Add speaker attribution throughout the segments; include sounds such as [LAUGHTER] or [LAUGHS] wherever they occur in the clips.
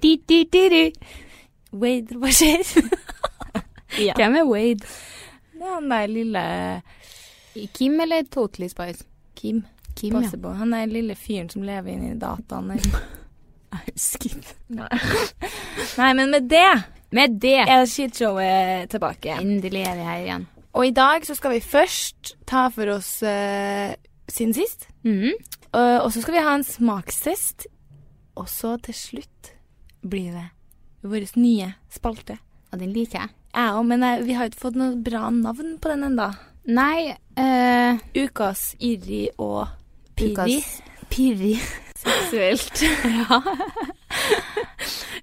Speaker 1: Di-di-di-di. Wade, hva
Speaker 2: [LAUGHS]
Speaker 1: skjer?
Speaker 3: Ja.
Speaker 1: Hvem er Wade?
Speaker 3: Det er han der lille
Speaker 2: Kim eller Totally Spice?
Speaker 3: Kim.
Speaker 2: Kim,
Speaker 3: Passer på. Han er lille fyren som lever inni dataene.
Speaker 2: [LAUGHS]
Speaker 1: Jeg husker ikke.
Speaker 3: [LAUGHS] Nei, men med det
Speaker 2: Med det,
Speaker 3: er shitshowet tilbake.
Speaker 2: endelig er vi her igjen.
Speaker 3: Og i dag så skal vi først ta for oss eh, siden sist.
Speaker 2: Mhm.
Speaker 3: Eh, og så skal vi ha en smakstest. Og så til slutt blir det vår nye spalte.
Speaker 2: Og den liker jeg.
Speaker 3: Jeg òg, men jeg, vi har jo ikke fått noe bra navn på den enda.
Speaker 2: Nei, eh,
Speaker 3: Ukas Irri og Pirri.
Speaker 2: ukas [LAUGHS] Pirri.
Speaker 3: Seksuelt.
Speaker 2: Ja.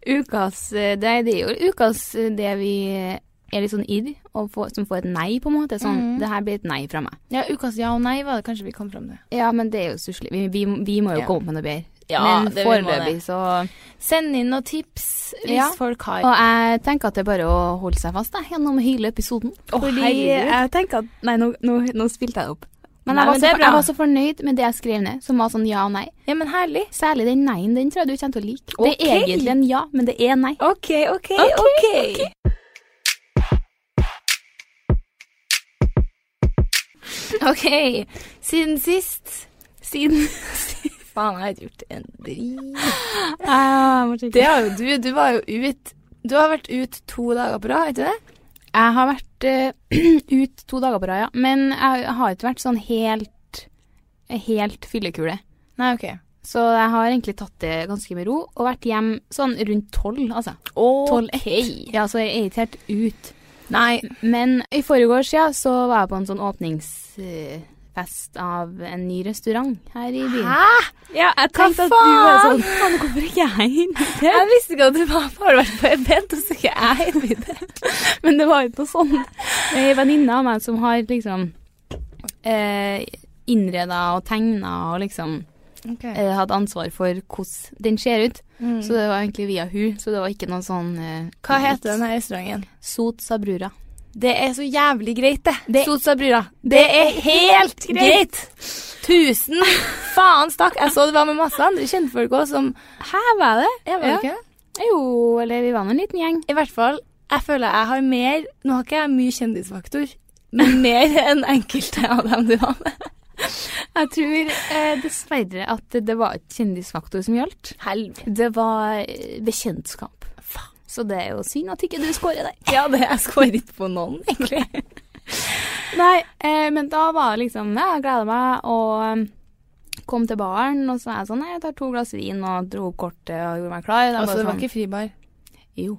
Speaker 2: ukas eh, Det er det er jo ukas eh, det vi eh, er litt sånn irr, og får, som får et nei, på en måte. Sånn,
Speaker 3: Mhm.
Speaker 2: det her blir et nei fra meg.
Speaker 3: Ja, ukas ja og nei var det kanskje vi kom fram til.
Speaker 2: Ja, men det er jo stusslig. Vi, vi, vi må jo
Speaker 3: Ja.
Speaker 2: komme opp med noe bedre.
Speaker 3: Ja,
Speaker 2: men
Speaker 3: det vi må
Speaker 2: foreløpig,
Speaker 3: det.
Speaker 2: så
Speaker 3: Send inn noen tips hvis
Speaker 2: Ja.
Speaker 3: folk har
Speaker 2: Og jeg tenker at det er bare å holde seg fast da, gjennom hele episoden. Fordi jeg tenker at Nei, nå, nå, nå spilte jeg det opp. Men,
Speaker 3: Nei,
Speaker 2: jeg, var
Speaker 3: men
Speaker 2: så,
Speaker 3: det er
Speaker 2: for-
Speaker 3: bra.
Speaker 2: jeg var så fornøyd med det jeg skrev ned, som var sånn ja og nei.
Speaker 3: Ja, men herlig.
Speaker 2: Særlig den nei-en, den tror jeg du kommer til å like. Det er
Speaker 3: Ok.
Speaker 2: egentlig en ja, men det er nei.
Speaker 3: OK, OK, OK.
Speaker 2: OK.
Speaker 3: Siden sist
Speaker 2: Siden
Speaker 3: Faen, jeg har ikke gjort en drit. Det
Speaker 2: det.
Speaker 3: har jo du. Du var jo ut Du har vært ut to dager på rad, har du ikke det?
Speaker 2: Jeg har vært eh, [CLEARS THROAT] ut to dager på rad, ja. Men jeg har ikke vært sånn helt, helt fyllekule.
Speaker 3: Nei, OK.
Speaker 2: Så jeg har egentlig tatt det ganske med ro, og vært hjem sånn rundt tolv, altså. Tolv ett. Ja, så jeg er ikke helt ut.
Speaker 3: Nei.
Speaker 2: Men i forgårs, ja, så var jeg på en sånn åpningsfest av en ny restaurant her i byen.
Speaker 3: Hæ?
Speaker 2: Ja, jeg
Speaker 3: tenkte at du var sånn, [LAUGHS]
Speaker 2: [LAUGHS] faen, hvorfor ikke jeg
Speaker 3: Jeg
Speaker 2: invitert?
Speaker 3: visste ikke at du var på Har du vært på event, og så er ikke jeg invitert?
Speaker 2: [LAUGHS] Men det var jo noe sånn. [LAUGHS] Ei venninne av meg som har liksom eh, innreda og tegna og liksom
Speaker 3: Okay.
Speaker 2: eh, hatt ansvar for hvordan den ser ut.
Speaker 3: Mm.
Speaker 2: Så det var egentlig via hun, så det var ikke noen sånn eh,
Speaker 3: Hva heter denne restauranten?
Speaker 2: Sot Sabrura.
Speaker 3: Det er så jævlig greit, det.
Speaker 2: Det-
Speaker 3: Sotsa brura. Det er helt greit. [LAUGHS] Tusen faen stakk. Jeg så det var med masse andre kjentfolk òg som
Speaker 2: Hæ, hva er det?
Speaker 3: Jeg
Speaker 2: Ja.
Speaker 3: ikke det?
Speaker 2: Jo, eller vi var nå en liten gjeng.
Speaker 3: I hvert fall, jeg føler jeg har mer Nå har ikke jeg mye kjendisfaktor, men mer [LAUGHS] enn enkelte av dem du [LAUGHS] var med.
Speaker 2: Jeg tror eh, dessverre at det var et kjendisfaktor som gjaldt.
Speaker 3: Helvete.
Speaker 2: Det var eh, bekjentskap. Så det er jo synd at ikke du scorer der.
Speaker 3: Ja, det, jeg scorer ikke på noen, egentlig.
Speaker 2: Nei, eh, men da var det liksom ja, Jeg gleda meg og um, kom til baren, og så er jeg sånn Nei, jeg tar to glass vin, og dro opp kortet og gjorde meg klar.
Speaker 3: [LAUGHS]
Speaker 2: Da
Speaker 3: Altså,
Speaker 2: bare
Speaker 3: det var
Speaker 2: sånn,
Speaker 3: ikke fribar.
Speaker 2: Jo.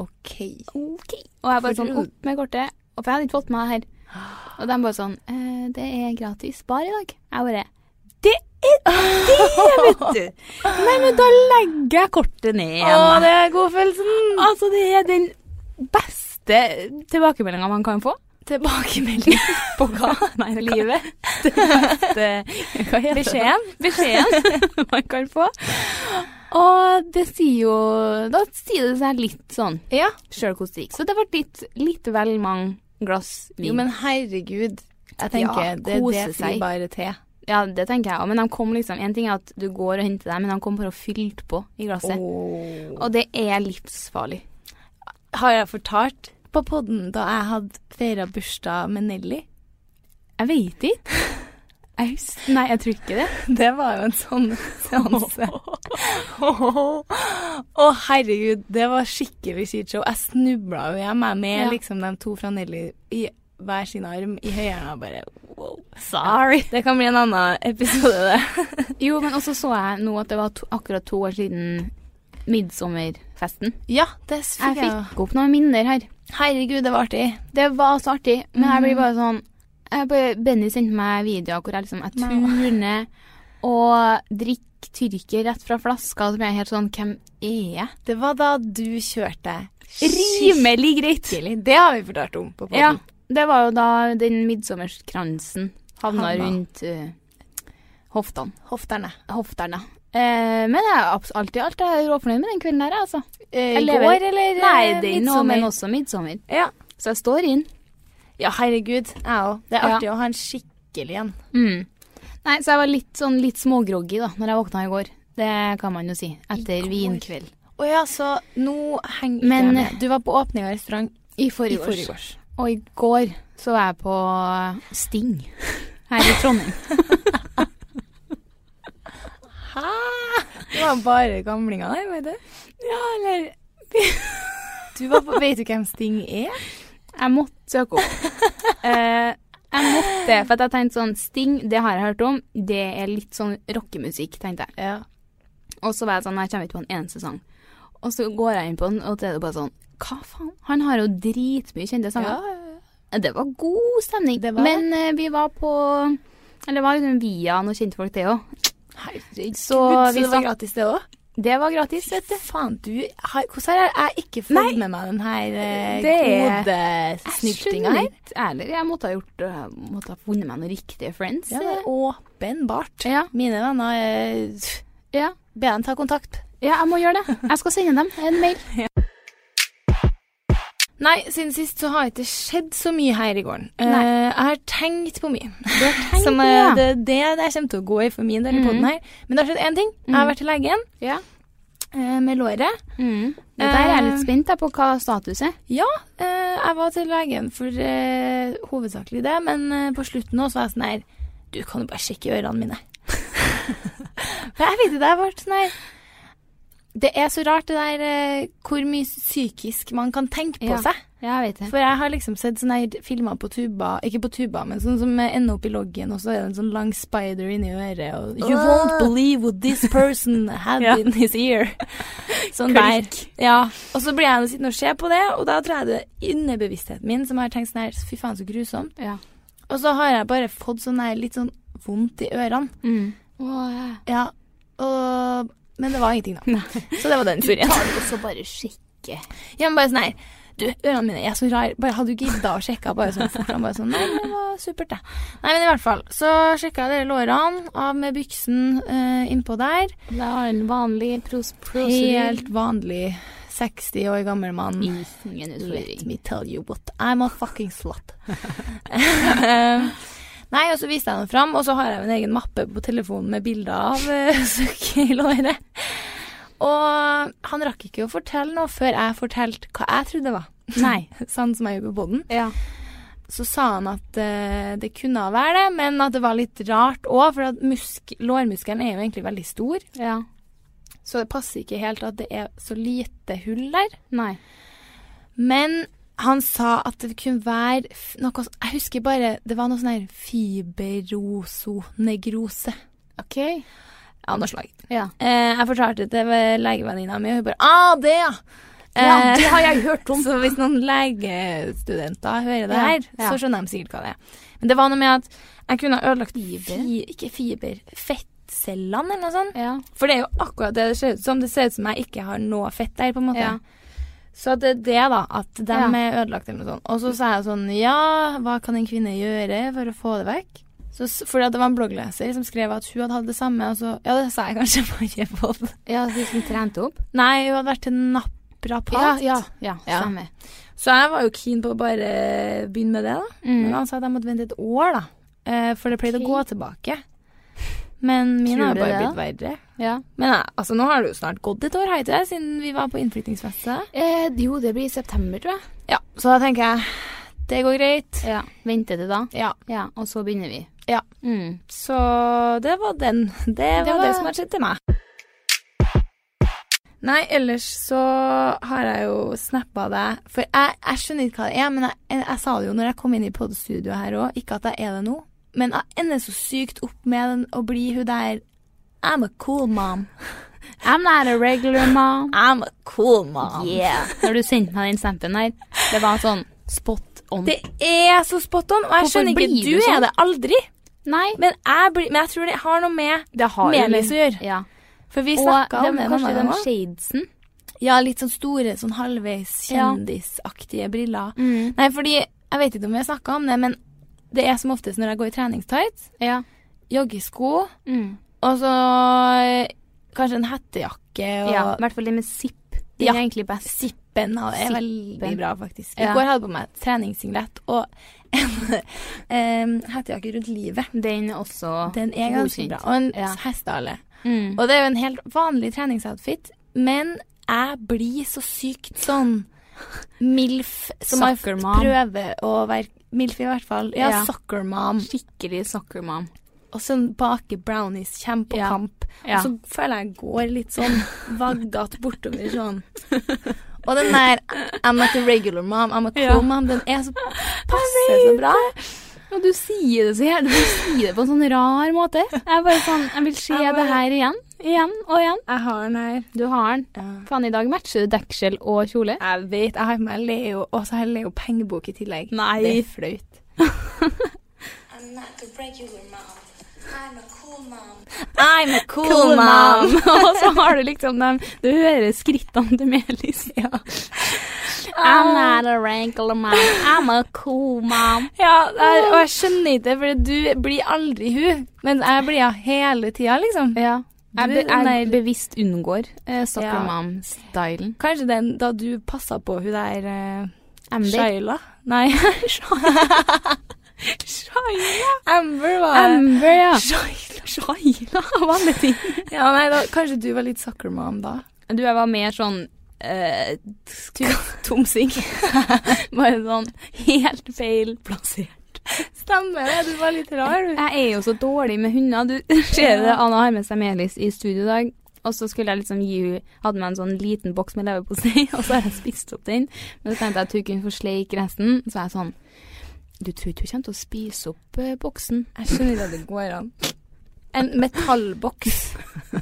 Speaker 3: OK.
Speaker 2: Ok. Og jeg bare
Speaker 3: For
Speaker 2: sånn
Speaker 3: du-
Speaker 2: opp med kortet, og for jeg hadde ikke fått med det her. Og de bare sånn eh, Det er gratis bar i dag. Jeg bare Det er det, vet
Speaker 3: [LAUGHS]
Speaker 2: du! Nei, men da legger jeg kortet ned
Speaker 3: Å,
Speaker 2: igjen.
Speaker 3: det er godfølelsen!
Speaker 2: Altså, det er den beste tilbakemeldinga man kan få.
Speaker 3: Tilbakemelding [LAUGHS] på hva?
Speaker 2: Nei, det kan-
Speaker 3: Livet?
Speaker 2: det-
Speaker 3: [LAUGHS]
Speaker 2: Hva heter det?
Speaker 3: Beskjeden? Beskjeden? [LAUGHS]
Speaker 2: man kan få. Og det sier jo Da sier det seg litt sånn
Speaker 3: Ja.
Speaker 2: sjøl hvordan det gikk. Så det ble litt, litt vel mange glass vin.
Speaker 3: Jo, men herregud. Jeg tenker
Speaker 2: Ja,
Speaker 3: det, det
Speaker 2: kose
Speaker 3: blir
Speaker 2: seg.
Speaker 3: bare til.
Speaker 2: Ja, det tenker jeg òg. Men de kom liksom En ting er at du går og henter dem, men de kom bare og fylte på i glasset. Og det er livsfarlig.
Speaker 3: Har jeg fortalt på podden da jeg hadde feira bursdag med Nelly? [LAUGHS]
Speaker 2: Jeg veit ikke. Jeg hus- Nei, jeg tror ikke det.
Speaker 3: Det var jo en sånn [LAUGHS] seanse. Å, herregud, det var skikkelig skitt show. Jeg snubla jo hjem jeg, med
Speaker 2: Ja.
Speaker 3: liksom de to fra Nelly i hver sin arm i høyhæla. Bare wow.
Speaker 2: Sorry.
Speaker 3: Det kan bli en annen episode, det.
Speaker 2: Jo, men også så jeg nå at det var to, akkurat to år siden midtsommerfesten.
Speaker 3: ja, det fikk
Speaker 2: Jeg
Speaker 3: jeg. jo.
Speaker 2: fikk opp noen minner her.
Speaker 3: Herregud, det var artig.
Speaker 2: Det var så artig, men jeg
Speaker 3: Mm.
Speaker 2: blir bare sånn jeg bare, Benny sendte meg videoer hvor jeg liksom jeg turner og drikker tyrker rett fra flaska, og så blir jeg helt sånn Hvem er jeg?
Speaker 3: Det var da du kjørte
Speaker 2: Rimelig greit!
Speaker 3: skikkelig. Det har vi fortalt om på podden.
Speaker 2: Ja, det var jo da den midtsommerskransen havna
Speaker 3: Havna.
Speaker 2: rundt eh, hoftene.
Speaker 3: Hofterne.
Speaker 2: Hoftene. Eh, men jeg er abs- alltid, alltid er råfornøyd med den kvelden der, jeg, altså.
Speaker 3: Eh,
Speaker 2: Jeg
Speaker 3: I
Speaker 2: lever-
Speaker 3: går, eller
Speaker 2: Nei,
Speaker 3: eh,
Speaker 2: det er noe, men
Speaker 3: midtsommer?
Speaker 2: også midtsommer.
Speaker 3: Ja.
Speaker 2: Så jeg står inn.
Speaker 3: ja, herregud. Jeg òg. Det er
Speaker 2: Ja.
Speaker 3: artig å ha en skikkelig en.
Speaker 2: Mm. Nei, så jeg var litt, sånn, litt smågroggy da når jeg våkna i går. Det kan man jo si. Etter vinkveld.
Speaker 3: Å ja, så nå henger ikke
Speaker 2: Men-
Speaker 3: jeg med. eh, Du var på åpning av restaurant
Speaker 2: I
Speaker 3: i
Speaker 2: forgårs.
Speaker 3: forgårs.
Speaker 2: Og i går så var jeg på Sting her i Trondheim.
Speaker 3: Det var bare gamlinger der, vet du. Ja, eller [LAUGHS] du var på, Vet du hvem Sting er?
Speaker 2: Jeg måtte søke opp. [LAUGHS] Eh, jeg måtte, for at jeg tenkte sånn Sting, det har jeg hørt om. Det er litt sånn rockemusikk, tenkte jeg.
Speaker 3: Ja.
Speaker 2: Og så var jeg sånn, jeg kommer ikke på en eneste sang. Og så går jeg inn på den, og så er det bare sånn Hva faen? Han har jo dritmye kjente sanger. Det var god stemning.
Speaker 3: Det var
Speaker 2: Men eh, vi var på Eller det var liksom via noen kjentfolk, det òg.
Speaker 3: Herregud, så,
Speaker 2: Så vi
Speaker 3: det var
Speaker 2: snakk-
Speaker 3: gratis, det òg?
Speaker 2: Det var gratis, vet du.
Speaker 3: Faen, du har, Hvordan har jeg- jeg ikke fått med meg den her
Speaker 2: Det
Speaker 3: eh, kodesnyltinga her?
Speaker 2: litt ærlig. Jeg måtte ha gjort Jeg måtte ha funnet meg noen riktige friends. eh,
Speaker 3: Ja, det er åpenbart.
Speaker 2: Ja.
Speaker 3: Mine venner eh,
Speaker 2: ja.
Speaker 3: Be dem ta kontakt.
Speaker 2: ja, jeg må gjøre det. Jeg skal sende dem en mail.
Speaker 3: Nei, siden sist så har ikke det skjedd så mye her i gården. Eh,
Speaker 2: Nei.
Speaker 3: jeg har tenkt på mye. Mhm.
Speaker 2: tenkt
Speaker 3: Som
Speaker 2: på,
Speaker 3: eh,
Speaker 2: ja.
Speaker 3: det, det er det jeg kommer til å gå i for min del i podden her. Men det har skjedd én ting. Jeg har vært til legen
Speaker 2: Ja.
Speaker 3: eh, med låret.
Speaker 2: Mm. Det der er jeg litt spent da, på hva status er.
Speaker 3: Ja, eh, jeg var til legen for eh, hovedsakelig det, men eh, på slutten nå så var jeg sånn her Du kan jo bare sjekke ørene
Speaker 2: [LAUGHS]
Speaker 3: mine. For jeg vet ikke, jeg ble sånn her Det er så rart det der eh, hvor mye psykisk man kan tenke på
Speaker 2: Ja.
Speaker 3: seg.
Speaker 2: Ja, jeg vet det.
Speaker 3: For jeg har liksom sett sånne her filmer på tuba, ikke på tuba, men sånn som ender opp i loggen, og så er det en sånn lang spider inni øret, og You won't believe what this person had
Speaker 2: [LAUGHS] Ja.
Speaker 3: in his ear. Sånn der. Ja. Og så blir jeg nå sittende og se på det, og da tror jeg det er innebevisstheten min som har tenkt sånn her, fy faen så grusomt.
Speaker 2: Ja.
Speaker 3: Og så har jeg bare fått sånn her litt sånn vondt i ørene.
Speaker 2: Mm. Åh, ja.
Speaker 3: Ja. Og Men det var ingenting, da. Så det var den turen.
Speaker 2: Tar du også bare sjekke.
Speaker 3: Ja, men bare sånn her Du, ørene mine jeg er så rar Bare hadde du gidda å sjekke Bare sånn fort Han bare sånn Nei, men det var supert det Nei, men i hvert fall Så sjekket jeg dere lårene Av med byksen eh, innpå der
Speaker 2: Det er en vanlig pros...
Speaker 3: Helt vanlig 60 år gammel mann
Speaker 2: Mm. Ingen
Speaker 3: Let
Speaker 2: utfordring.
Speaker 3: me tell you what I'm a fucking slut Eh, [LAUGHS] Nei, og så viste jeg den fram Og så har jeg jo en egen mappe på telefonen Med bilder av eh, [LAUGHS] sukk i låret Og han rakk ikke å fortelle noe Før jeg fortelt hva jeg trodde det var
Speaker 2: Nei.
Speaker 3: [LAUGHS] sånn som jeg gjorde på podden,
Speaker 2: Ja.
Speaker 3: så sa han at eh, det kunne være det, men at det var litt rart òg, for at musk lårmuskelen er jo egentlig veldig stor,
Speaker 2: ja.
Speaker 3: så det passer ikke helt at det er så lite hull der.
Speaker 2: Nei.
Speaker 3: Men han sa at det kunne være f- noe sånn Jeg husker bare det var noe sånn her fiberosonegrose
Speaker 2: OK.
Speaker 3: av noe slag.
Speaker 2: Ja.
Speaker 3: Eh, jeg fortalte det til legevenninna mi, og hun bare Ah, det, ja!
Speaker 2: Ja, det
Speaker 3: har jeg hørt om. [LAUGHS] Så hvis noen legestudenter hører det
Speaker 2: Ja,
Speaker 3: her,
Speaker 2: ja.
Speaker 3: så skjønner de sikkert hva det er. Men det var noe med at jeg kunne ha ødelagt
Speaker 2: Fiber?
Speaker 3: Fi, ikke fiber, fettcellene eller noe sånt.
Speaker 2: Ja.
Speaker 3: For det er jo akkurat det det ser ut som. Det ser ut som jeg ikke har noe fett der, på en måte.
Speaker 2: Ja.
Speaker 3: Så det er det, da. At de
Speaker 2: Ja.
Speaker 3: er ødelagt eller noe sånt. Og så sa jeg sånn Ja, hva kan en kvinne gjøre for å få det vekk? Så, s- fordi at det var en bloggleser som skrev at hun hadde hatt det samme, og så Ja, det sa jeg kanskje [LAUGHS] forrige podd.
Speaker 2: Ja, de som trente opp.
Speaker 3: Nei, hun hadde vært til naprapat.
Speaker 2: Ja, ja, ja,
Speaker 3: Ja.
Speaker 2: stemmer.
Speaker 3: Så jeg var jo keen på å bare begynne med det, da. Men han sa at jeg måtte vente et år, da. Eh, For det pleide
Speaker 2: Ok.
Speaker 3: å gå tilbake. Men min
Speaker 2: Tror
Speaker 3: har
Speaker 2: du
Speaker 3: bare
Speaker 2: det,
Speaker 3: blitt verre.
Speaker 2: Ja.
Speaker 3: Men eh, altså, nå har det jo snart gått et år, har ikke det? Siden vi var på innflyttingsfeste.
Speaker 2: Eh, jo, det blir i september, tror jeg.
Speaker 3: Ja, så da tenker jeg det går greit.
Speaker 2: Ja. Venter det da?
Speaker 3: Ja.
Speaker 2: Ja, og så begynner vi.
Speaker 3: Ja.
Speaker 2: Mm.
Speaker 3: Så det var den. Det var det,
Speaker 2: var-
Speaker 3: som har skjedd til meg. Nei, ellers så har jeg jo snappa deg For jeg, jeg skjønner ikke hva det er, men jeg, jeg, jeg sa det jo når jeg kom inn i podstudioet her òg, ikke at jeg er det nå, men jeg ender så sykt opp med den å bli hun der I'm a cool [LAUGHS] mom.
Speaker 2: I'm not a regular mom.
Speaker 3: I'm a cool mom.
Speaker 2: Yeah. Når du sendte meg den snappen der, det var sånn spot on.
Speaker 3: Det er så spot on, og jeg
Speaker 2: Hvorfor
Speaker 3: skjønner ikke
Speaker 2: blir
Speaker 3: Du
Speaker 2: du sånn?
Speaker 3: er det aldri.
Speaker 2: Nei.
Speaker 3: Men jeg, blir, men jeg tror det har noe med
Speaker 2: Det har jo
Speaker 3: Melis
Speaker 2: litt-
Speaker 3: å gjøre.
Speaker 2: Ja.
Speaker 3: For vi
Speaker 2: Og
Speaker 3: snakka om
Speaker 2: de,
Speaker 3: det.
Speaker 2: kanskje
Speaker 3: denne
Speaker 2: de
Speaker 3: gangen.
Speaker 2: shadesen.
Speaker 3: Ja, litt sånn store, sånn halvveis
Speaker 2: Ja.
Speaker 3: kjendisaktige briller. Nei, fordi jeg vet ikke om vi har snakka om det, men det er som oftest når jeg går i treningstights,
Speaker 2: Ja.
Speaker 3: joggesko
Speaker 2: Mm.
Speaker 3: og så eh, kanskje en hettejakke og
Speaker 2: ja. I hvert fall det med sipp. Det
Speaker 3: Ja.
Speaker 2: er egentlig best.
Speaker 3: Sippen av det er veldig
Speaker 2: Sippen.
Speaker 3: bra, faktisk. I
Speaker 2: Ja.
Speaker 3: går hadde jeg på meg treningssinglet og en [LAUGHS] em, hettejakke rundt livet.
Speaker 2: Den er også
Speaker 3: Den er ganske
Speaker 2: Godkjent.
Speaker 3: bra. Og en
Speaker 2: Ja.
Speaker 3: hestehale.
Speaker 2: Mm.
Speaker 3: Og det er jo en helt vanlig treningsoutfit, men jeg blir så sykt sånn MILF som har
Speaker 2: Soccer mom.
Speaker 3: prøver å være MILF i hvert fall. Ja,
Speaker 2: Ja.
Speaker 3: soccer mom.
Speaker 2: Skikkelig soccer mom.
Speaker 3: Og sånn bake brownies, kjem på
Speaker 2: Ja.
Speaker 3: kamp.
Speaker 2: Ja.
Speaker 3: Og så føler jeg jeg går litt sånn
Speaker 2: [LAUGHS]
Speaker 3: vaggete bortover sånn. Og den der I'm not a regular mom, I'm a cool
Speaker 2: Ja.
Speaker 3: mom, den er
Speaker 2: [LAUGHS]
Speaker 3: så passer så bra.
Speaker 2: Og du sier det så gjerne. [LAUGHS] Du sier det på en sånn rar måte. Jeg er bare sånn Jeg vil se
Speaker 3: Jeg bare-
Speaker 2: det her igjen. Igjen og igjen.
Speaker 3: Jeg har den her.
Speaker 2: Du har den. Faen, i dag matcher du deksel og kjole.
Speaker 3: Jeg vet, jeg har med meg Leo, og så har jeg Leo pengebok i tillegg.
Speaker 2: Nei.
Speaker 3: Det er flaut.
Speaker 4: I'm not a regular mom. I'm a cool mom.
Speaker 3: I'm a cool, mom.
Speaker 2: [LAUGHS] og så har du liksom dem Du hører skrittene til Melis. I'm not a wrinkle mom. I'm a cool mom.
Speaker 3: Ja, jeg, og jeg skjønner ikke det, for du blir aldri hun. Men jeg blir henne hele tida, liksom.
Speaker 2: Ja. Jeg,
Speaker 3: Du,
Speaker 2: be,
Speaker 3: nei.
Speaker 2: jeg bevisst unngår eh, soccer
Speaker 3: Ja.
Speaker 2: mom-stylen.
Speaker 3: Kanskje den da du passa på hun der eh,
Speaker 2: Amber.
Speaker 3: Shaila? Nei. [LAUGHS] Shaila? Amber var
Speaker 2: Amber, Um, ja.
Speaker 3: Shaila.
Speaker 2: Shaila, av alle ting.
Speaker 3: Ja, nei, da, kanskje du var litt soccer mom da.
Speaker 2: Du, jeg var mer sånn eh, t- Tomsing. Bare sånn [LAUGHS] helt feil plassert.
Speaker 3: Stemmer det, du var litt rar, du.
Speaker 2: Jeg er jo så dårlig med hunder. Du ser det, Anna har med seg Melis i studio i dag. Og så skulle jeg liksom gi hun Hadde med en sånn liten boks med leverpostei, [LAUGHS] og så har jeg spist opp den. Men så tenkte jeg at hun kunne få sleik resten. Så er jeg sånn Du tror ikke hun kommer til å spise opp eh, boksen?
Speaker 3: Jeg skjønner ikke at det går an. En metallboks.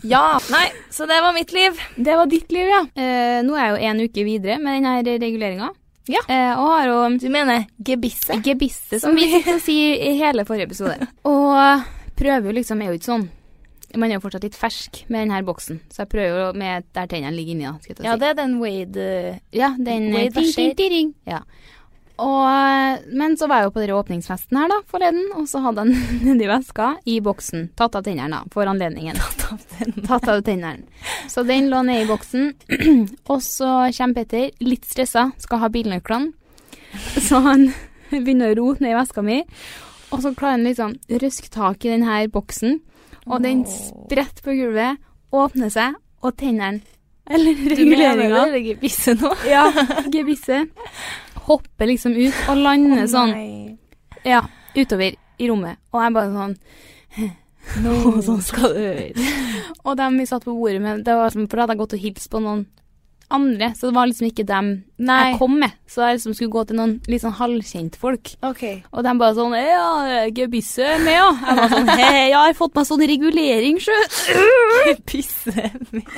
Speaker 3: Ja. Nei, så det var mitt liv.
Speaker 2: Det var ditt liv, ja. Eh, nå er jeg jo en uke videre med denne reguleringa.
Speaker 3: Ja.
Speaker 2: Eh, og har jo
Speaker 3: Du mener gebisse?
Speaker 2: gebisse, som vi sitter og sier i hele forrige [LAUGHS] episode. Og prøver jo liksom, er jo ikke sånn. Man er jo fortsatt litt fersk med denne boksen, så jeg prøver jo med der tennene ligger inni, da. Skal jeg ta
Speaker 3: Ja,
Speaker 2: og si.
Speaker 3: det er den Wade eh,
Speaker 2: ja, den eh,
Speaker 3: Wait, hva
Speaker 2: ding,
Speaker 3: skjer?
Speaker 2: ding, ding, ding. Ja. Og, eh, men så var jeg jo på den åpningsfesten her da, forleden, og så hadde jeg den [LAUGHS] nedi veska i boksen. Tatt av tennene, da, for anledningen. Tatt av tennene. Så den lå nede i boksen. [CLEARS THROAT] og så kommer Petter, litt stressa, skal ha bilnøklene. [LAUGHS] Så han [LAUGHS] begynner å rote ned i veska mi, og så klarer han liksom røske tak i den her boksen. Og den spretter på gulvet, åpner seg, og tennene Eller reguleringa
Speaker 3: det gebisse nå?
Speaker 2: ja, gebisse. Hopper liksom ut og lander sånn ja, utover i rommet. Og jeg bare sånn Og sånn skal det være. [LAUGHS] og dem vi satt på bordet med, det var som, for da hadde jeg gått og hilst på noen andre, så det var liksom ikke dem
Speaker 3: Nei.
Speaker 2: jeg kom med. Så jeg liksom skulle gå til noen litt sånn halvkjente folk.
Speaker 3: OK.
Speaker 2: Og de bare sånn Ja, gebisse er med, ja. Jeg bare sånn Hei, jeg har fått meg sånn regulering, sjø.
Speaker 3: Pisse med.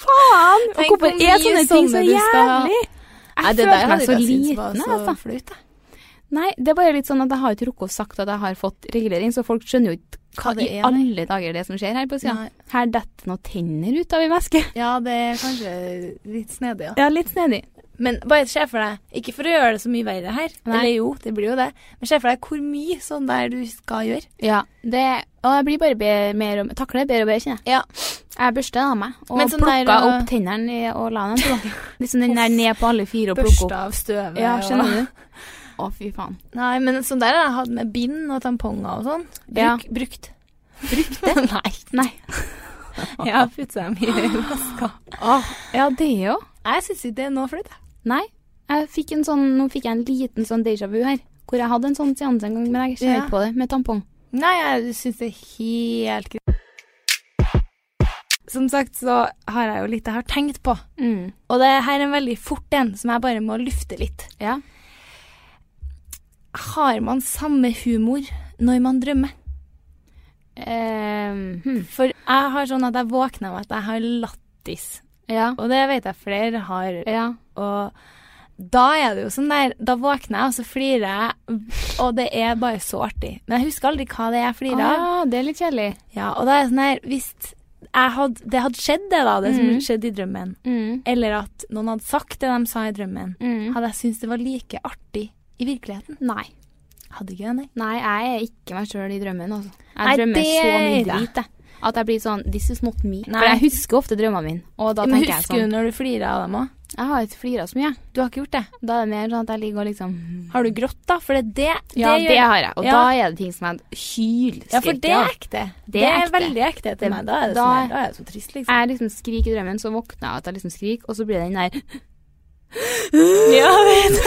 Speaker 2: Faen! Og
Speaker 3: Tenk
Speaker 2: hvorfor
Speaker 3: hvor
Speaker 2: er
Speaker 3: mye
Speaker 2: sånne ting så
Speaker 3: sånne du skal ha.
Speaker 2: jævlig?
Speaker 3: Nei,
Speaker 2: Jeg
Speaker 3: det der
Speaker 2: følte meg
Speaker 3: hadde
Speaker 2: så
Speaker 3: jeg syntes
Speaker 2: liten,
Speaker 3: var
Speaker 2: jeg,
Speaker 3: så
Speaker 2: altså.
Speaker 3: flaut, jeg.
Speaker 2: Nei, det er bare litt sånn at jeg har ikke rukket å sagt at jeg har fått regulering, så folk skjønner jo ikke hva
Speaker 3: Hva det
Speaker 2: i
Speaker 3: er, nei.
Speaker 2: alle dager det er som skjer her på sida.
Speaker 3: Nei.
Speaker 2: Her detter noen tenner ut av ei veske.
Speaker 3: Ja, det er kanskje litt snedig, ja.
Speaker 2: Ja, litt snedig.
Speaker 3: Men bare se for deg, ikke for å gjøre det så mye verre her,
Speaker 2: Nei.
Speaker 3: eller jo, det blir jo det, men se for deg hvor mye sånn der du skal gjøre.
Speaker 2: Ja, det, og jeg blir bare be, mer og, takler det bedre og bedre, kjenner jeg.
Speaker 3: Ja.
Speaker 2: Jeg børsta av meg, og
Speaker 3: Men sånn
Speaker 2: plukka
Speaker 3: der, øh,
Speaker 2: opp tennene i- og la dem [LAUGHS] tilbake. Liksom den der ned på alle fire og plukke
Speaker 3: Børste
Speaker 2: opp.
Speaker 3: av støvet.
Speaker 2: Ja, skjønner
Speaker 3: og-
Speaker 2: du? [LAUGHS] Å, fy faen.
Speaker 3: [LAUGHS] Nei, men sånn der har jeg hatt med bind og tamponger og sånn. Bruk,
Speaker 2: Ja.
Speaker 3: Brukt. Brukt det? Nei.
Speaker 2: [LAUGHS] Nei.
Speaker 3: Jeg har puttet dem i vaska.
Speaker 2: Ja, det jo.
Speaker 3: [LAUGHS] Jeg syns ikke det er noe flaut. jeg.
Speaker 2: Nei. Jeg fikk en sånn, nå fikk jeg en liten sånn déjà vu her. Hvor jeg hadde en sånn seanse en gang, men jeg ser
Speaker 3: Ja.
Speaker 2: ikke på det, med tampong.
Speaker 3: Nei, jeg syns det er helt greit. Som sagt så har jeg jo litt jeg har tenkt på.
Speaker 2: Mm.
Speaker 3: Og det her er en veldig fort en som jeg bare må lufte litt.
Speaker 2: Ja.
Speaker 3: Har man samme humor når man drømmer?
Speaker 2: Ehm, hm.
Speaker 3: For jeg har sånn at jeg våkner av at jeg har lattis.
Speaker 2: Ja.
Speaker 3: Og det vet jeg flere har.
Speaker 2: Ja.
Speaker 3: Og da er det jo sånn der Da våkner jeg, og så flirer jeg, og det er bare så artig. Men jeg husker aldri hva det er jeg flirer av.
Speaker 2: Ah, det er litt kjedelig.
Speaker 3: Ja, og da er jeg sånn her Hvis jeg hadde, det hadde skjedd, det da, det
Speaker 2: Mhm.
Speaker 3: som skjedde i drømmen,
Speaker 2: Mm.
Speaker 3: eller at noen hadde sagt det de sa i drømmen,
Speaker 2: Mm.
Speaker 3: hadde jeg syntes det var like artig i virkeligheten?
Speaker 2: Nei.
Speaker 3: Hadde ikke det, nei.
Speaker 2: Nei, jeg er ikke meg sjøl i drømmen, altså. Jeg
Speaker 3: Nei,
Speaker 2: drømmer
Speaker 3: det
Speaker 2: så mye
Speaker 3: er det.
Speaker 2: drit, jeg. At jeg blir sånn This is not me.
Speaker 3: Nei.
Speaker 2: For jeg husker ofte drømmene mine, og da
Speaker 3: Men
Speaker 2: tenker jeg
Speaker 3: husker
Speaker 2: sånn
Speaker 3: du når du flirer av dem òg?
Speaker 2: Jeg har ikke flira så mye.
Speaker 3: Du har ikke gjort det.
Speaker 2: Da er det mer sånn at jeg ligger og liksom
Speaker 3: Har du grått, da? For det, det,
Speaker 2: Ja, det,
Speaker 3: gjør
Speaker 2: har jeg. Og
Speaker 3: Ja.
Speaker 2: da er det ting som jeg hylskriker
Speaker 3: Ja, for det
Speaker 2: av.
Speaker 3: er ekte. Det,
Speaker 2: er
Speaker 3: er,
Speaker 2: ekte.
Speaker 3: veldig ekte
Speaker 2: Det-
Speaker 3: til meg. Da er det
Speaker 2: da-
Speaker 3: sånn her, da er jeg så trist, liksom.
Speaker 2: Jeg liksom skriker i drømmen, så våkner jeg at jeg liksom skriker, og så blir det den der
Speaker 3: [GASPS] Ja, vet du.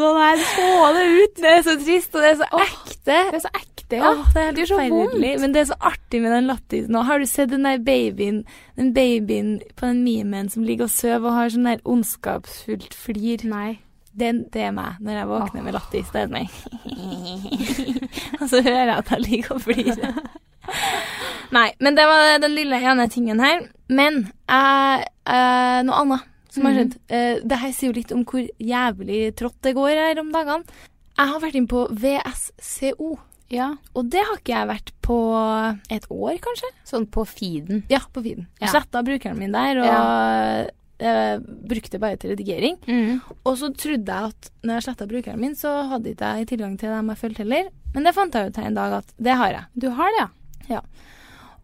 Speaker 2: Sånn her, få det ut!
Speaker 3: Det er så trist, og det er så ekte.
Speaker 2: Det er så ekte, ja.
Speaker 3: Åh, [LAUGHS] det er
Speaker 2: gjør så
Speaker 3: forferdelig.
Speaker 2: vondt.
Speaker 3: Men det er så artig med den lattisen. Nå har du sett den der babyen, den babyen på den memen som ligger og sover og har sånn der ondskapsfullt flir.
Speaker 2: Nei.
Speaker 3: Det, det er meg når jeg våkner med lattis. Det er sånn
Speaker 2: [LAUGHS]
Speaker 3: jeg- Og så hører jeg at jeg ligger og flirer. Nei, men det var den lille ene tingen her. Men eh, eh, noe annet som har
Speaker 2: Mhm.
Speaker 3: skjedd. Eh, det her sier jo litt om hvor jævlig trått det går her om dagene. Jeg har vært inne på VSCO.
Speaker 2: Ja.
Speaker 3: Og det har ikke jeg vært på et år, kanskje?
Speaker 2: Sånn på feeden.
Speaker 3: Ja, på feeden.
Speaker 2: Ja.
Speaker 3: Jeg Sletta brukeren min der, og eh, brukte bare til redigering.
Speaker 2: Mm.
Speaker 3: Og så trodde jeg at når jeg sletta brukeren min, så hadde ikke jeg tilgang til dem jeg fulgte heller. Men det fant jeg ut her en dag at det har jeg.
Speaker 2: Du har det, ja.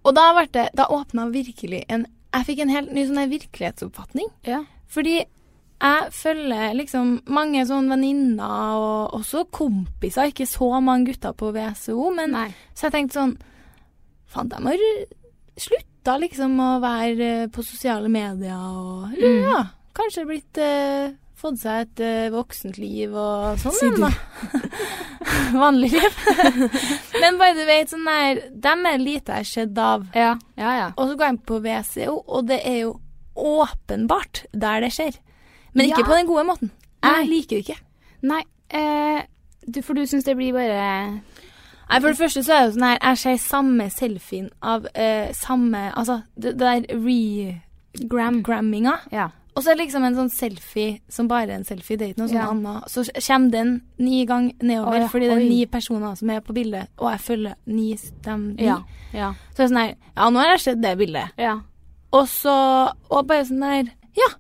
Speaker 3: Og da, ble det, da åpna virkelig en Jeg fikk en helt ny sånn her virkelighetsoppfatning.
Speaker 2: Ja.
Speaker 3: Fordi jeg følger liksom mange sånn venninner og også kompiser. Ikke så mange gutter på VSO, men
Speaker 2: Nei.
Speaker 3: Så jeg tenkte sånn Faen, de har slutta liksom å være eh, på sosiale medier og eller,
Speaker 2: Mm.
Speaker 3: ja, Kanskje blitt eh, Fått seg et eh, voksent liv og sånn,
Speaker 2: Sier
Speaker 3: men da. [LAUGHS] Vanlig liv. [LAUGHS] men bare du vet, sånn der Dem er lite jeg har sett av.
Speaker 2: Ja, ja. ja.
Speaker 3: Og så går jeg inn på VCO, og det er jo åpenbart der det skjer. Men ikke
Speaker 2: Ja.
Speaker 3: på den gode måten.
Speaker 2: Nei.
Speaker 3: Jeg liker det ikke.
Speaker 2: Nei, eh, du, for du syns det blir bare
Speaker 3: Nei, For det første så er det jo sånn her Jeg ser samme selfien av eh, samme Altså, det, det der re-gramminga.
Speaker 2: Ja.
Speaker 3: Og så er det liksom en sånn selfie som bare er en selfie. Det er ikke noe sånn
Speaker 2: Ja.
Speaker 3: annet. Så kommer den ni gang nedover,
Speaker 2: Å, ja.
Speaker 3: fordi det er
Speaker 2: Oi.
Speaker 3: ni personer som er på bildet, og jeg følger ni dem ni.
Speaker 2: Ja. Ja.
Speaker 3: Så er det sånn her Ja, nå har jeg sett det bildet.
Speaker 2: ja.
Speaker 3: Og så Og bare sånn der Ja.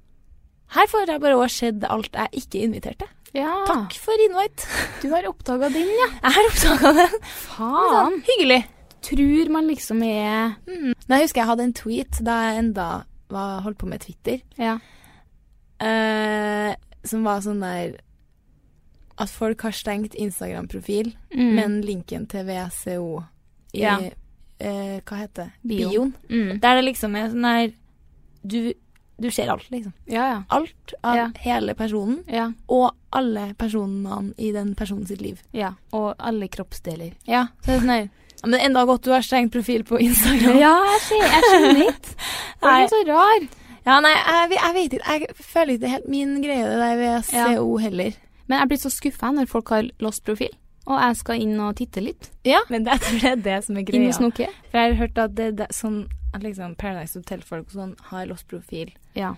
Speaker 3: Her får jeg bare også sett alt jeg ikke inviterte. Takk for invite.
Speaker 2: Du har oppdaga den, ja.
Speaker 3: Jeg har oppdaga den.
Speaker 2: Faen.
Speaker 3: Hyggelig.
Speaker 2: Tror man liksom er
Speaker 3: Men jeg husker jeg hadde en tweet da jeg enda var, holdt på med Twitter,
Speaker 2: Ja.
Speaker 3: eh, som var sånn der At folk har stengt Instagram-profil,
Speaker 2: Mm.
Speaker 3: men linken til VCO i
Speaker 2: Ja.
Speaker 3: eh, Hva heter det?
Speaker 2: Bio.
Speaker 3: Bioen.
Speaker 2: mm.
Speaker 3: Der det liksom er sånn der Du, du ser alt, liksom.
Speaker 2: Ja, ja.
Speaker 3: Alt av
Speaker 2: Ja.
Speaker 3: hele personen,
Speaker 2: Ja,
Speaker 3: og alle personene i den personen sitt liv.
Speaker 2: ja. Og alle kroppsdeler.
Speaker 3: Ja, så det er sånn der «Ja, Men enda godt du har stengt profil på Instagram.
Speaker 2: [LAUGHS] Ja, jeg ser Jeg skjønner [LAUGHS] ikke. Det
Speaker 3: [LAUGHS] Nei.
Speaker 2: er så rar.
Speaker 3: Ja, nei, jeg, jeg vet ikke. Jeg føler ikke det er helt min greie, det der VCO heller.
Speaker 2: Men jeg blir så skuffa når folk har låst profil, og jeg skal inn og titte litt.
Speaker 3: Ja. Men det, jeg tror det er det som er
Speaker 2: Inn
Speaker 3: greia.
Speaker 2: og snoke.
Speaker 3: For jeg har hørt at det, det sånn at liksom Paradise Hotel-folk og sånn har lost profil.
Speaker 2: Ja.